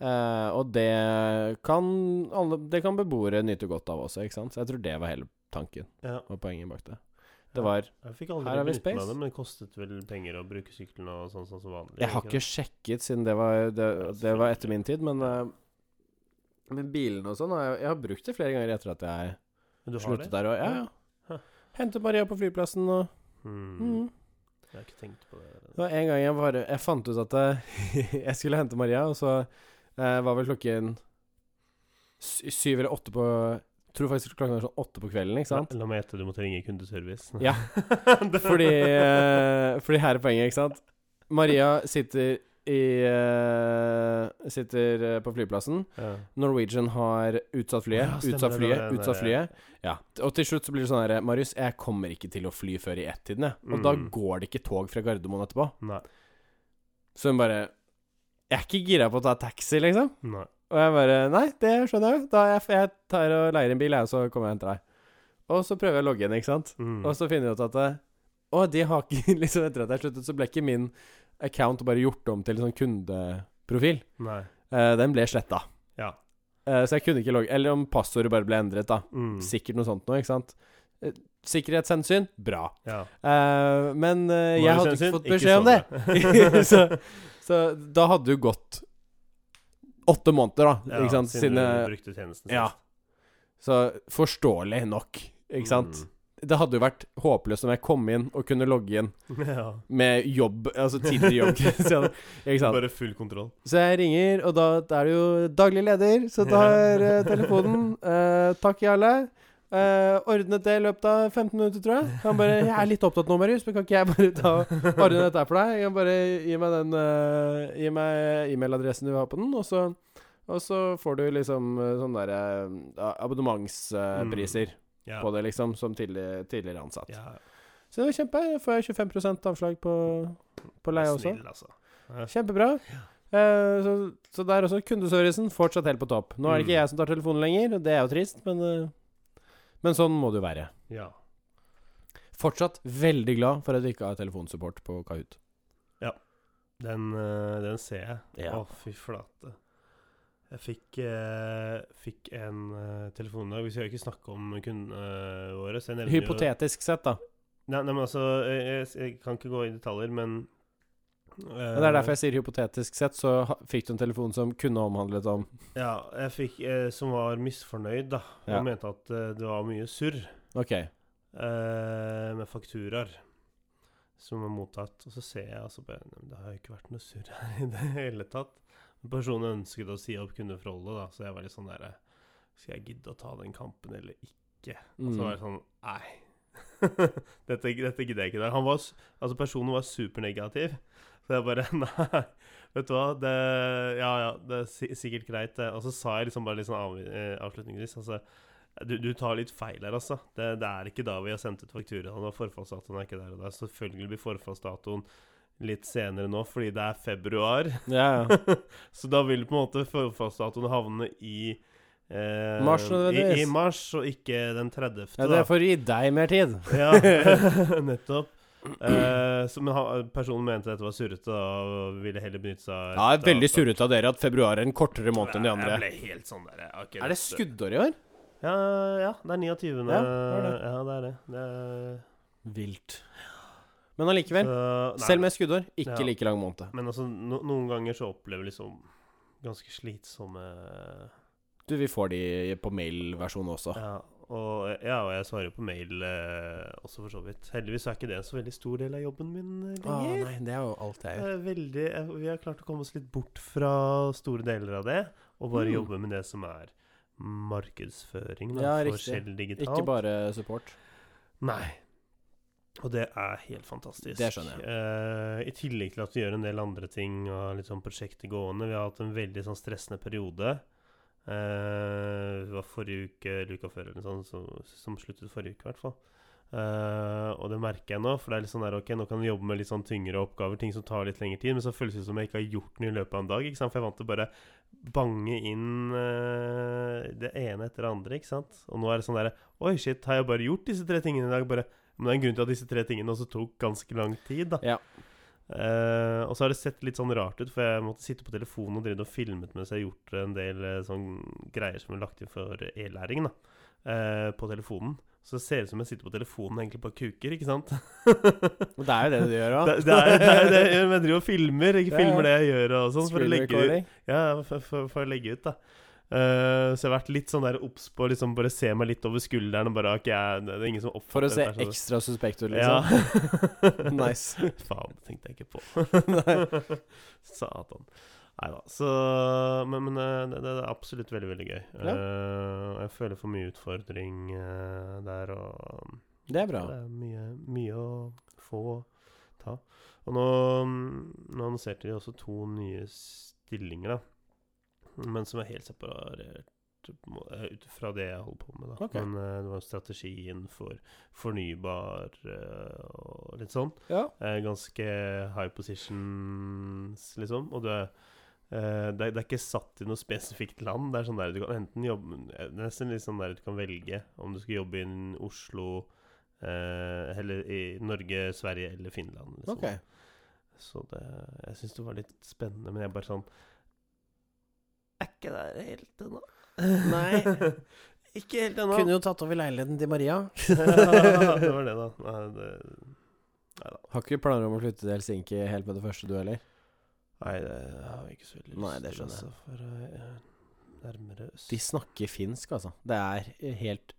Speaker 2: Eh, og det kan alle Det kan beboere nyte godt av også, ikke sant. Så jeg tror det var hele tanken
Speaker 1: Ja.
Speaker 2: og poenget bak det.
Speaker 1: Ja.
Speaker 2: Det var
Speaker 1: Jeg fikk
Speaker 2: Her
Speaker 1: aldri
Speaker 2: har
Speaker 1: benyttet
Speaker 2: vi
Speaker 1: meg
Speaker 2: space.
Speaker 1: av det, men det kostet vel penger å bruke sykkelen og sånn sånn som vanlig.
Speaker 2: Jeg har ikke sjekket siden det var, det, det var etter min tid, men eh, Men bilene og sånn har jeg, jeg har brukt det flere ganger etter at jeg
Speaker 1: Men Du har
Speaker 2: Sluttet
Speaker 1: det?
Speaker 2: der òg. Ja,
Speaker 1: Hæ.
Speaker 2: ja. Hentet Maria på flyplassen og
Speaker 1: Mm.
Speaker 2: mm.
Speaker 1: Jeg har ikke tenkt på det.
Speaker 2: Det var en gang jeg bare Jeg fant ut at jeg, jeg skulle hente Maria, og så eh, var vel klokken sy- syv eller åtte på Tror faktisk klokken var sånn åtte på kvelden, ikke sant?
Speaker 1: La, la meg gjette, du måtte ringe kundeservice.
Speaker 2: Ja.
Speaker 1: Det-
Speaker 2: Fordi, eh, fordi her er poenget, ikke sant? Maria sitter i eh, Sitter eh, på flyplassen.
Speaker 1: ja.
Speaker 2: Norwegian har utsatt flyet,
Speaker 1: Ja, stemmer
Speaker 2: utsatt
Speaker 1: det,
Speaker 2: flyet,
Speaker 1: det var den
Speaker 2: utsatt
Speaker 1: der-
Speaker 2: flyet. Ja. Og til slutt så blir det sånn her Marius, jeg kommer ikke til å fly før i ett-tiden, jeg. Og da
Speaker 1: Mm.
Speaker 2: går det ikke tog fra Gardermoen etterpå.
Speaker 1: Nei.
Speaker 2: Så hun bare Jeg er ikke gira på å ta taxi, liksom.
Speaker 1: Nei.
Speaker 2: Og jeg bare Nei, det skjønner jeg. jo. Da jeg, jeg tar og leier en bil, jeg, og så kommer jeg og henter deg. Og så prøver jeg å logge inn, ikke sant.
Speaker 1: Mm.
Speaker 2: Og så finner jeg ut at eh, Å, de har ikke Liksom etter at jeg sluttet, så ble ikke min account bare gjort om til sånn kundeprofil.
Speaker 1: Nei.
Speaker 2: Eh, den ble sletta.
Speaker 1: Ja.
Speaker 2: så jeg kunne ikke logge Eller om passordet bare ble endret, da.
Speaker 1: Mm.
Speaker 2: Sikkert noe sånt noe, ikke sant. Eh, Sikkerhetshensyn bra.
Speaker 1: Ja.
Speaker 2: Eh, men eh, jeg hadde
Speaker 1: Marius Jensen,
Speaker 2: ikke fått beskjed om det. så,
Speaker 1: sånn.
Speaker 2: så da hadde det jo gått åtte måneder, da.
Speaker 1: Ja,
Speaker 2: ikke sant?
Speaker 1: Siden
Speaker 2: Siden, eh,
Speaker 1: du brukte tjenesten
Speaker 2: ja.
Speaker 1: sist.
Speaker 2: så forståelig nok,
Speaker 1: Mm.
Speaker 2: ikke sant? Det hadde jo vært håpløst om jeg kom inn og kunne logge inn
Speaker 1: Mm. ja.
Speaker 2: med jobb, altså tidligere jobb. så- ikke sant?
Speaker 1: Bare full kontroll.
Speaker 2: Så jeg ringer, og da, da er det jo daglig leder som tar eh, telefonen. Eh, takk, Jarle. Eh, ordnet det i løpet av 15 minutter, tror jeg. Han bare 'Jeg er litt opptatt nå, Marius, men kan ikke jeg bare ta ordne dette her for deg. Jeg kan bare gi meg den eh, Gi meg e-mailadressen du har på den, og så, og så får du liksom eh, sånne derre abonnementspriser
Speaker 1: Mm, Ja.
Speaker 2: på det, liksom, som tidlig, tidligere ansatt.
Speaker 1: ja.
Speaker 2: Så det var kjempe. Da får jeg 25 avslag på, på leie også.
Speaker 1: Snill, altså. Ja.
Speaker 2: Kjempebra. Eh, så, så der også kundeservicen fortsatt helt på topp. Nå er det
Speaker 1: Mm.
Speaker 2: ikke jeg som tar telefonen lenger, og det er jo trist, men eh, Men sånn må det jo være.
Speaker 1: Ja.
Speaker 2: Fortsatt veldig glad for at vi ikke har telefonsupport på Kahoot.
Speaker 1: Den, eh, den ser jeg.
Speaker 2: Ja.
Speaker 1: Å, fy flate. Jeg fikk, eh, fikk en eh, telefon i dag. Vi skal jo ikke snakke om kundene våre. så jeg nevner jo-
Speaker 2: Hypotetisk sett, da.
Speaker 1: Nei, nei, men altså jeg, jeg, jeg kan ikke gå i detaljer, men
Speaker 2: Men det er derfor jeg sier hypotetisk sett, så ha- fikk du en telefon som kunne omhandlet om
Speaker 1: Ja, jeg fikk eh, Som var misfornøyd, da. Og
Speaker 2: Ja.
Speaker 1: mente at eh, det var mye surr
Speaker 2: OK.
Speaker 1: eh, med fakturaer som var mottatt. Og så ser jeg altså på Nei, men Det har jo ikke vært noe surr her i det hele tatt. Men Personen ønsket å si opp kundeforholdet, da, så jeg var litt sånn derre Skal jeg gidde å ta den kampen eller ikke?
Speaker 2: Mm.
Speaker 1: Så var jeg sånn Nei. dette, dette gidder jeg ikke. Der. Han var, s- altså personen var supernegativ. Så jeg bare Nei, vet du hva. Det, ja, ja, det er si- sikkert greit, det. Og så sa jeg liksom bare litt sånn av, eh, avslutningsvis altså, du, du tar litt feil her, altså. Det, det er ikke da vi har sendt ut faktura. Han har forfallsdatoen er ikke der og der. Selvfølgelig blir forfallsdatoen litt senere nå, fordi det er februar.
Speaker 2: Ja, ja.
Speaker 1: så da vil på en måte forfallsdatoen havne i eh,
Speaker 2: Mars nødvendigvis.
Speaker 1: i, I mars, og ikke den 30.
Speaker 2: ja
Speaker 1: da.
Speaker 2: det er for å gi deg mer tid.
Speaker 1: Ja, nettopp. Eh, så, men han- personen mente dette var surrete da, og ville heller benytte seg av
Speaker 2: Ja, det er veldig surrete av dere at februar er en kortere måned enn de
Speaker 1: Jeg
Speaker 2: andre.
Speaker 1: ble helt sånn der ok,
Speaker 2: Er det
Speaker 1: dette-
Speaker 2: skuddår i år?
Speaker 1: Ja, ja, det er 29.
Speaker 2: Ja,
Speaker 1: Ja,
Speaker 2: det er det.
Speaker 1: det er det. det er,
Speaker 2: Vilt. Men allikevel,
Speaker 1: så, nei,
Speaker 2: selv med skuddår, ikke
Speaker 1: Ja.
Speaker 2: like lang måned.
Speaker 1: Men altså, no, noen ganger så opplever vi liksom ganske slitsomme
Speaker 2: Du, vi får de på mailversjon også.
Speaker 1: Ja, og, ja, og jeg svarer jo på mail eh, også, for så vidt. Heldigvis er ikke det en så veldig stor del av jobben min eh,
Speaker 2: Å
Speaker 1: lenger.
Speaker 2: nei, det er jo alt jeg gjør.
Speaker 1: Eh, Veldig, eh, vi har klart å komme oss litt bort fra store deler av det, og bare
Speaker 2: Mm.
Speaker 1: jobbe med det som er markedsføring da,
Speaker 2: Ja,
Speaker 1: for
Speaker 2: riktig.
Speaker 1: Shell digitalt.
Speaker 2: Ikke bare support.
Speaker 1: Nei. Og det er helt fantastisk.
Speaker 2: Det skjønner jeg.
Speaker 1: Eh, I tillegg til at vi gjør en del andre ting og har litt sånn prosjekter gående. Vi har hatt en veldig sånn stressende periode. Eh, det var forrige uke eller uka før eller noe sånt, som, som sluttet forrige uke i hvert fall. Eh, og det merker jeg nå, for det er litt sånn der, ok, nå kan jeg jobbe med litt sånn tyngre oppgaver, ting som tar litt lengre tid, men så føles det som jeg ikke har gjort noe i løpet av en dag, ikke sant? For jeg er vant til å bare bange inn eh, det ene etter det andre, ikke sant? Og nå er det sånn der, oi shit, har jeg bare gjort disse tre tingene i dag? Bare, men det er en grunn til at disse tre tingene også tok ganske lang tid, da.
Speaker 2: Ja.
Speaker 1: Eh, og så har det sett litt sånn rart ut, for jeg måtte sitte på telefonen og drive og filmet mens jeg har gjort en del eh, sånn greier som er lagt inn for e-læring, da. eh, på telefonen. Så det ser ut som jeg sitter på telefonen egentlig på kuker, ikke sant?
Speaker 2: Men det er jo det du gjør
Speaker 1: Det,
Speaker 2: òg.
Speaker 1: det er, det er, det er, men jeg driver og filmer. Jeg
Speaker 2: Ja, ja.
Speaker 1: filmer det jeg gjør og sånn, for å legge ut. Ja, for, for, for å legge ut, da. Eh, så jeg har vært litt sånn der obs på å liksom bare se meg litt over skulderen og bare ok, jeg, det er ingen som oppfatter
Speaker 2: For å se
Speaker 1: dette her, så-
Speaker 2: ekstra suspekt ut, liksom. Nice.
Speaker 1: Faen, det tenkte jeg ikke på. Satan. Nei da. Så Men, men eh, det, det er absolutt veldig, veldig gøy.
Speaker 2: Ja.
Speaker 1: Eh, og jeg føler for mye utfordring eh, der, og
Speaker 2: Det er bra.
Speaker 1: det er mye, mye å få og ta. Og nå, mm, nå annonserte de også to nye stillinger, da. Men som er helt separert på en må- eh, ut fra det jeg holder på med. da.
Speaker 2: Ok.
Speaker 1: Men eh, det var strategien for fornybar eh, og litt sånn.
Speaker 2: Ja.
Speaker 1: Eh, ganske high positions, liksom. Og du er eh, det, er, det er ikke satt i noe spesifikt land. Det er sånn der du kan enten jobbe eh, Nesten litt sånn der du kan velge om du skal jobbe innen Oslo eh, Eller i Norge, Sverige eller Finland. Liksom.
Speaker 2: Ok.
Speaker 1: Så det Jeg syns det var litt spennende, men jeg er bare sånn Er ikke der helt ennå.
Speaker 2: Nei.
Speaker 1: ikke helt ennå.
Speaker 2: jo tatt over leiligheten til Maria.
Speaker 1: ja, det var det, da. Nei, det,
Speaker 2: Har ikke planer om å flytte til Helsinki helt med det første, du heller?
Speaker 1: nei, det har jeg ikke så veldig lyst
Speaker 2: Nei, det
Speaker 1: til,
Speaker 2: skjønner jeg.
Speaker 1: altså, for jeg er nærmere øst.
Speaker 2: De snakker finsk, altså. Det er helt,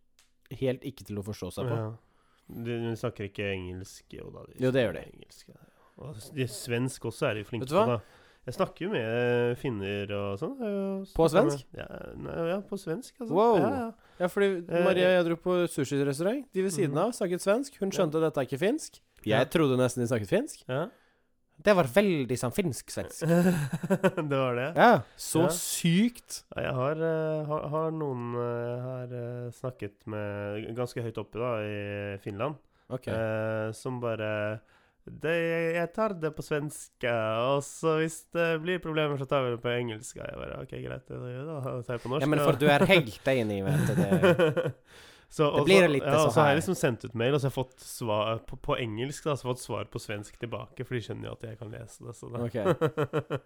Speaker 2: helt ikke til å forstå seg på.
Speaker 1: Ja. De, de snakker ikke engelsk. Jo, da, de
Speaker 2: Jo, det gjør
Speaker 1: snakker Engelsk, ja. Og s- de, svensk også er de flinke
Speaker 2: Vet du hva?
Speaker 1: på. da. Jeg snakker jo med eh, finner og sånn. og
Speaker 2: På
Speaker 1: snakker
Speaker 2: svensk?
Speaker 1: med- Ja, nei, ja, på svensk. Altså.
Speaker 2: Wow.
Speaker 1: Ja, ja.
Speaker 2: Ja, fordi
Speaker 1: Eh,
Speaker 2: Maria og jeg dro på sushirestaurant. De ved siden av snakket svensk. Hun skjønte at dette er ikke finsk.
Speaker 1: Ja.
Speaker 2: Mhm. Jeg trodde nesten de snakket finsk.
Speaker 1: Ja.
Speaker 2: Det var veldig sånn finsk-svensk.
Speaker 1: det var det.
Speaker 2: Ja, så
Speaker 1: Ja.
Speaker 2: sykt.
Speaker 1: Ja, Jeg har, eh, har, har noen eh, har eh, snakket med ganske høyt oppe da, i Finland,
Speaker 2: Ok.
Speaker 1: eh, som bare det, jeg tar det på svenske, og så hvis det blir problemer, så tar vi det på engelsk. Og Jeg bare, ok, greit, det, da tar jeg på norsk.
Speaker 2: Ja, men for du er helt enig, vet du. Det.
Speaker 1: det. Så,
Speaker 3: Det blir jo litt
Speaker 1: ja,
Speaker 3: så
Speaker 1: og så har jeg
Speaker 3: her.
Speaker 1: liksom sendt ut mail, og så har jeg fått svar på, på engelsk. Da, så har jeg fått svar på svensk tilbake, for de skjønner jo at jeg kan lese det. Så da.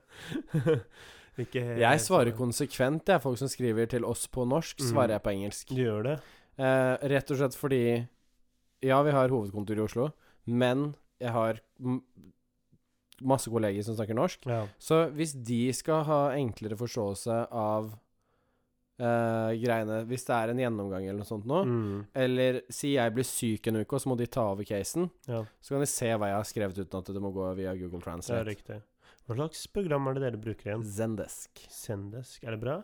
Speaker 1: Ikke helt-
Speaker 2: Jeg svarer konsekvent, jeg. Folk som skriver til oss på norsk,
Speaker 1: Mm.
Speaker 2: svarer jeg på engelsk.
Speaker 1: Du gjør det?
Speaker 2: Eh, rett og slett fordi Ja, vi har hovedkontor i Oslo, men jeg har m masse kolleger som snakker norsk.
Speaker 1: Ja.
Speaker 2: Så hvis de skal ha enklere forståelse av eh, greiene Hvis det er en gjennomgang eller noe sånt nå,
Speaker 1: Mm.
Speaker 2: eller si jeg blir syk en uke, og så må de ta over casen,
Speaker 1: Ja.
Speaker 2: så kan de se hva jeg har skrevet uten at det må gå via Google
Speaker 1: Det er
Speaker 2: Translate.
Speaker 1: riktig. Hva slags program er det dere bruker igjen?
Speaker 2: Zendesk.
Speaker 1: Sendesk? Er det bra?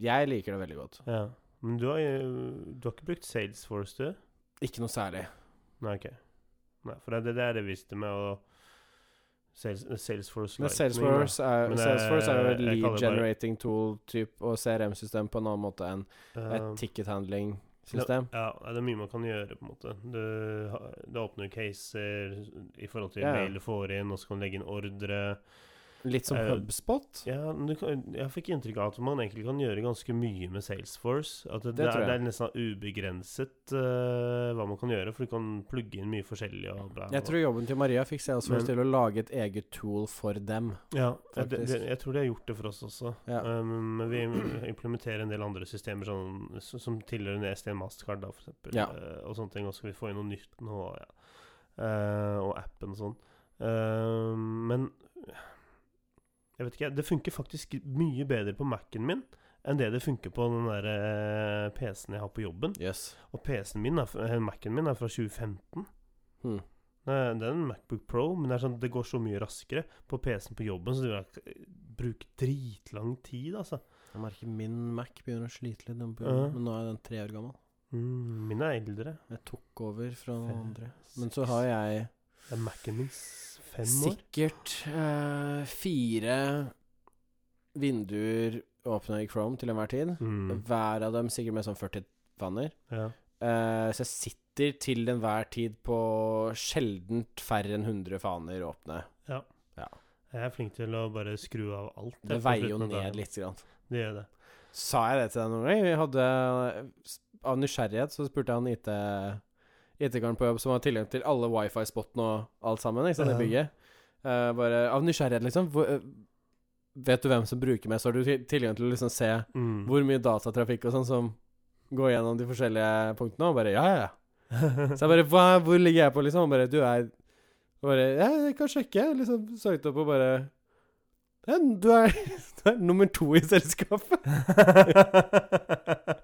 Speaker 2: Jeg liker det veldig godt.
Speaker 1: Ja. Men du har, jo- du har ikke brukt Salesforce, du?
Speaker 2: Ikke noe særlig.
Speaker 1: Nei, ok. Nei, for det, det er det jeg visste med å Sales, Salesforce
Speaker 2: Men
Speaker 1: Lightning,
Speaker 2: Salesforce er,
Speaker 1: Men det-
Speaker 2: Salesforce er jo
Speaker 1: jeg
Speaker 2: et
Speaker 1: kaller
Speaker 2: lead
Speaker 1: det bare-
Speaker 2: generating tool-type og CRM-system på en annen måte enn
Speaker 1: da.
Speaker 2: et
Speaker 1: Eh,
Speaker 2: ticket-handling-system.
Speaker 1: Ja, nei, det er mye man kan gjøre, på en måte. Du, ha- det åpner jo caser i forhold til
Speaker 2: Ja, ja.
Speaker 1: mail du får inn, og så kan du legge inn ordre.
Speaker 2: Litt som
Speaker 1: Eh,
Speaker 2: HubSpot.
Speaker 1: Ja, men du kan, jeg fikk inntrykk av at man egentlig kan gjøre ganske mye med Salesforce. At det,
Speaker 2: Det
Speaker 1: det,
Speaker 2: tror
Speaker 1: er, det
Speaker 2: jeg.
Speaker 1: er nesten ubegrenset eh, hva man kan gjøre, for du kan plugge inn mye forskjellig. Og bla, bla, bla.
Speaker 2: Jeg tror jobben til Maria fikk Salesforce
Speaker 1: Men-
Speaker 2: til å lage et eget tool for dem.
Speaker 1: Ja, jeg, det,
Speaker 2: Faktisk.
Speaker 1: det, jeg tror de har gjort det for oss også.
Speaker 2: Ja.
Speaker 1: Um, men vi implementerer en del andre systemer sånn, som, som tilhører en STM Mastercard, da, for eksempel.
Speaker 2: Ja.
Speaker 1: Eh, og sånne ting. Og så skal vi få inn noe nytt nå, ja. Eh, og appen og sånn. Eh, men jeg vet ikke, det funker faktisk mye bedre på Mac-en min enn det det funker på den der eh, PC-en jeg har på jobben.
Speaker 2: Yes.
Speaker 1: Og PC-en min, er, eh, Mac-en min er fra 2015.
Speaker 2: Hmm.
Speaker 1: Nei, Det er en Macbook Pro, men det, er sånn, det går så mye raskere på PC-en på jobben, så du har- bruker dritlang tid, altså.
Speaker 2: Jeg merker min Mac begynner å slite litt, den på
Speaker 1: Ja.
Speaker 2: jobben, men nå er den tre år gammel.
Speaker 1: Mm, min er eldre.
Speaker 2: Jeg tok over fra noen
Speaker 1: Fem,
Speaker 2: andre. Men så har jeg
Speaker 1: Det er Mac-en min s- fem år.
Speaker 2: sikkert eh, fire vinduer åpne i Chrome til enhver tid.
Speaker 1: Mm,
Speaker 2: Hver av dem sikkert med sånn 40 panner.
Speaker 1: ja.
Speaker 2: Eh, så jeg sitter til enhver tid på sjeldent færre enn 100 faner åpne.
Speaker 1: Jeg er flink til å bare skru av alt. jeg, på
Speaker 2: Det veier jo
Speaker 1: slutten av dagen.
Speaker 2: ned litt. Grann.
Speaker 1: Det gjør det.
Speaker 2: Sa jeg det til deg noen gang? Vi hadde eh, Av nysgjerrighet så spurte jeg han IT IT-karen på jobb som har tilgang til alle wifi-spottene og alt sammen ikke sant,
Speaker 1: Ja.
Speaker 2: i bygget. Eh, bare av nysgjerrighet, liksom. Hvor, eh, vet du hvem som bruker mest? Har du til- tilgang til å liksom se
Speaker 1: Mm.
Speaker 2: hvor mye datatrafikk og sånn som går gjennom de forskjellige punktene? Og bare ja, ja, ja.
Speaker 1: Mm.
Speaker 2: Så jeg bare Hva, Hvor ligger jeg på, liksom? Han bare Du er bare Ja, jeg kan sjekke. Liksom søkte opp og bare Ja, du er, du er nummer to i selskapet.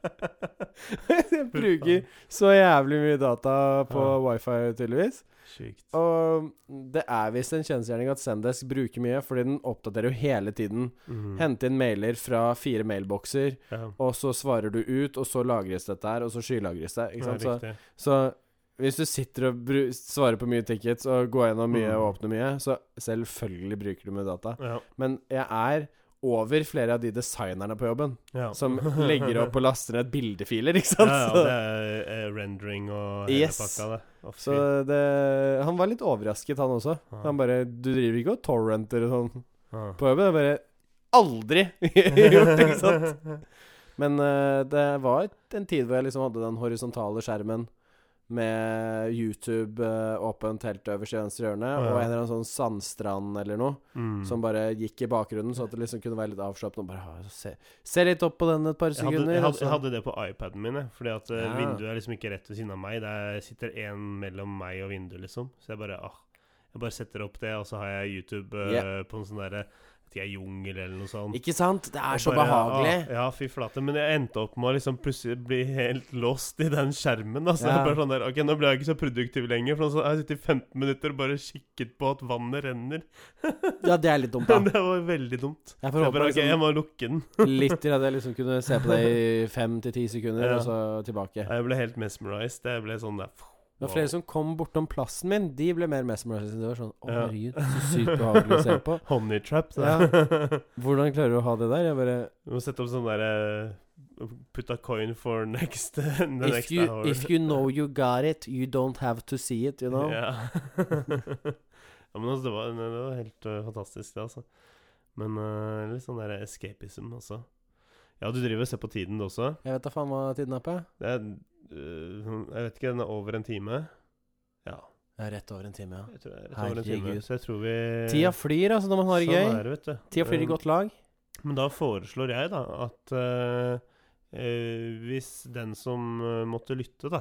Speaker 2: jeg bruker så jævlig mye data på wifi, tydeligvis.
Speaker 1: Sjukt.
Speaker 2: Og det er visst en kjensgjerning at Sendesk bruker mye, fordi den oppdaterer jo hele tiden.
Speaker 1: Mm.
Speaker 2: Hente inn mailer fra fire mailbokser,
Speaker 1: Ja.
Speaker 2: og så svarer du ut, og så lagres dette her, og så skylagres det. Ikke
Speaker 1: Ja,
Speaker 2: sant? Så
Speaker 1: riktig.
Speaker 2: Så hvis du sitter og bru svarer på mye tickets og går gjennom mye og
Speaker 1: Mm.
Speaker 2: åpner mye, så selvfølgelig bruker du mye data.
Speaker 1: Ja.
Speaker 2: Men jeg er over flere av de designerne på jobben
Speaker 1: Ja.
Speaker 2: som legger opp og laster ned bildefiler,
Speaker 1: ja,
Speaker 2: ikke sant?
Speaker 1: ja, det er eh, rendering og hele
Speaker 2: Yes.
Speaker 1: pakka, det. Å, fy.
Speaker 2: Så det Han var litt overrasket, han også.
Speaker 1: Ja.
Speaker 2: Han bare 'Du driver ikke og torrenter og sånn
Speaker 1: Ja.
Speaker 2: på jobben?' Jeg bare Aldri gjort, ikke sant? Men eh, det var en tid hvor jeg liksom hadde den horisontale skjermen med YouTube eh, åpent helt øverst i venstre hjørne,
Speaker 1: Ja.
Speaker 2: og en eller annen sånn sandstrand eller noe,
Speaker 1: Mm.
Speaker 2: som bare gikk i bakgrunnen, så at det liksom kunne være litt avslappende. og Bare ah, se, se litt opp på den et par
Speaker 1: Jeg hadde,
Speaker 2: sekunder.
Speaker 1: jeg, hadde,
Speaker 2: og så-
Speaker 1: jeg hadde det på iPaden min, jeg, fordi at eh,
Speaker 2: Ja.
Speaker 1: vinduet er liksom ikke rett ved siden av meg. Der sitter én mellom meg og vinduet, liksom. Så jeg bare ah, Jeg bare setter opp det, og så har jeg YouTube eh, på en sånn derre vet ikke, jungel eller noe sånt.
Speaker 2: Ikke sant? Det
Speaker 1: Og
Speaker 2: er så
Speaker 1: bare,
Speaker 2: behagelig.
Speaker 1: ah, ja, fy flate. Men jeg endte opp med å liksom plutselig bli helt lost i den skjermen. Altså,
Speaker 2: Ja.
Speaker 1: bare sånn der, ok, Nå ble jeg ikke så produktiv lenger, for nå så har jeg sittet i 15 minutter og bare kikket på at vannet renner.
Speaker 2: Ja, det er litt dumt, da.
Speaker 1: det var veldig dumt.
Speaker 2: Jeg
Speaker 1: Så
Speaker 2: får
Speaker 1: jeg
Speaker 2: håpe
Speaker 1: bare, ok, jeg
Speaker 2: liksom,
Speaker 1: må lukke den.
Speaker 2: litt til at jeg liksom kunne se på det i fem til ti sekunder,
Speaker 1: Ja.
Speaker 2: og så tilbake.
Speaker 1: Jeg ble helt mesmerized. Jeg ble sånn der
Speaker 2: Det var
Speaker 1: wow.
Speaker 2: flere som kom bortom plassen min, de ble mer mesmerized. Det var sånn Å,
Speaker 1: Ja.
Speaker 2: herregud, så sykt behagelig å se på.
Speaker 1: Honey trap. det.
Speaker 2: Hvordan klarer du å ha det der? Jeg bare
Speaker 1: Du må sette opp sånn derre Put a coin for next, the
Speaker 2: if
Speaker 1: next
Speaker 2: you,
Speaker 1: hour.
Speaker 2: if you know you got it, you don't have to see it, you know?
Speaker 1: Ja. ja, men altså, det var, eh, det eh, var helt øh, fantastisk, det, altså. Men øh, litt sånn der escapism også. Ja, du driver og ser på tiden du også.
Speaker 2: Jeg vet da faen hva tiden er på.
Speaker 1: Det er, øh, jeg vet ikke, den er over en time. Ja,
Speaker 2: Jeg er rett over en time, ja.
Speaker 1: jeg tror det er rett over en time.
Speaker 2: Herregud.
Speaker 1: Så jeg tror vi
Speaker 2: Tida flyr, altså, når man har det
Speaker 1: Eh, Sånn
Speaker 2: gøy.
Speaker 1: er det, vet du.
Speaker 2: Tida flyr i
Speaker 1: Um,
Speaker 2: godt lag.
Speaker 1: Men da foreslår jeg da at eh, eh, hvis den som eh, måtte lytte, da,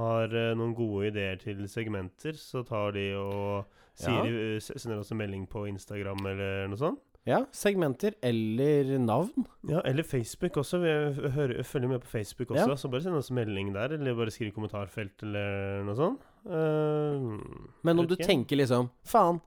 Speaker 1: har eh, noen gode ideer til segmenter, så tar de og sier, eh, s- sender oss en melding på Instagram eller noe sånt.
Speaker 2: Ja, segmenter eller navn.
Speaker 1: Ja, eller Facebook også. Vi eh, hører, følger med på Facebook også, så bare send oss en melding der, eller bare skriv i kommentarfelt eller noe sånt. Eh,
Speaker 2: Men om
Speaker 1: vet
Speaker 2: du
Speaker 1: ikke.
Speaker 2: tenker liksom Faen,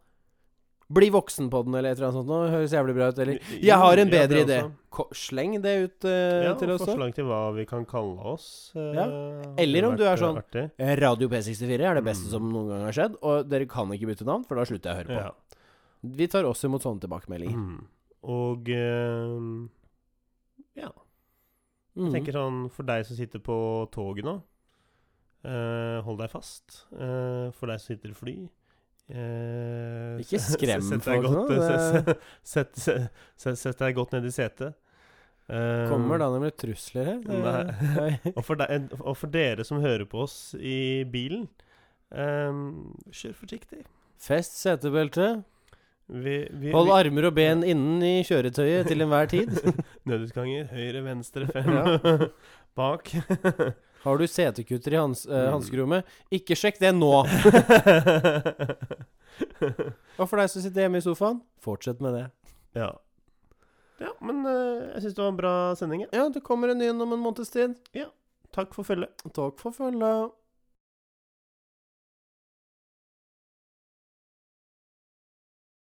Speaker 2: bli voksen på den, eller et eller annet sånt. Nå høres jævlig bra ut. Eller
Speaker 1: Jo,
Speaker 2: Jeg har
Speaker 1: ja,
Speaker 2: en
Speaker 1: det
Speaker 2: bedre idé.
Speaker 1: også.
Speaker 2: Ko- Sleng det ut eh,
Speaker 1: Ja,
Speaker 2: til
Speaker 1: og
Speaker 2: oss òg.
Speaker 1: forslag til hva vi kan kalle oss. eh,
Speaker 2: Ja.
Speaker 1: hadde
Speaker 2: Eller om du er
Speaker 1: vært, eh,
Speaker 2: sånn,
Speaker 1: artig.
Speaker 2: Radio P64 er det beste
Speaker 1: Mm.
Speaker 2: som noen gang har skjedd, og dere kan ikke bytte navn, for da slutter jeg å høre på.
Speaker 1: Ja.
Speaker 2: Vi tar også imot sånne tilbakemeldinger.
Speaker 1: Mm. Og eh, ja, jeg
Speaker 2: Mm.
Speaker 1: tenker sånn for deg som sitter på toget nå, eh, hold deg fast. Eh, for deg som sitter i fly eh,
Speaker 2: Ikke
Speaker 1: s- s-
Speaker 2: skrem
Speaker 1: sett deg
Speaker 2: folk
Speaker 1: godt,
Speaker 2: nå,
Speaker 1: eh,
Speaker 2: det-
Speaker 1: Sett, sett, sett, sett deg godt ned i setet. Eh,
Speaker 2: Mm. Kommer da nemlig trusler her. Eh, Det- Nei.
Speaker 1: Og for, deg, og for dere som hører på oss i bilen, eh, kjør forsiktig.
Speaker 2: Fest setebeltet.
Speaker 1: Vi, vi,
Speaker 2: Hold
Speaker 1: vi-
Speaker 2: armer og ben innen i kjøretøyet til enhver tid.
Speaker 1: Nødutganger. Høyre, venstre, fem.
Speaker 2: Ja.
Speaker 1: Bak.
Speaker 2: Har du setekutter i hans, eh,
Speaker 1: Mm.
Speaker 2: hanskerommet, ikke sjekk det nå! Og for deg som sitter hjemme i sofaen, fortsett med det.
Speaker 1: ja. ja, men eh, jeg syns det var en bra sending. Ja.
Speaker 2: Ja, det kommer en ny om en måneds tid.
Speaker 1: Takk for følget.
Speaker 2: Takk for følget.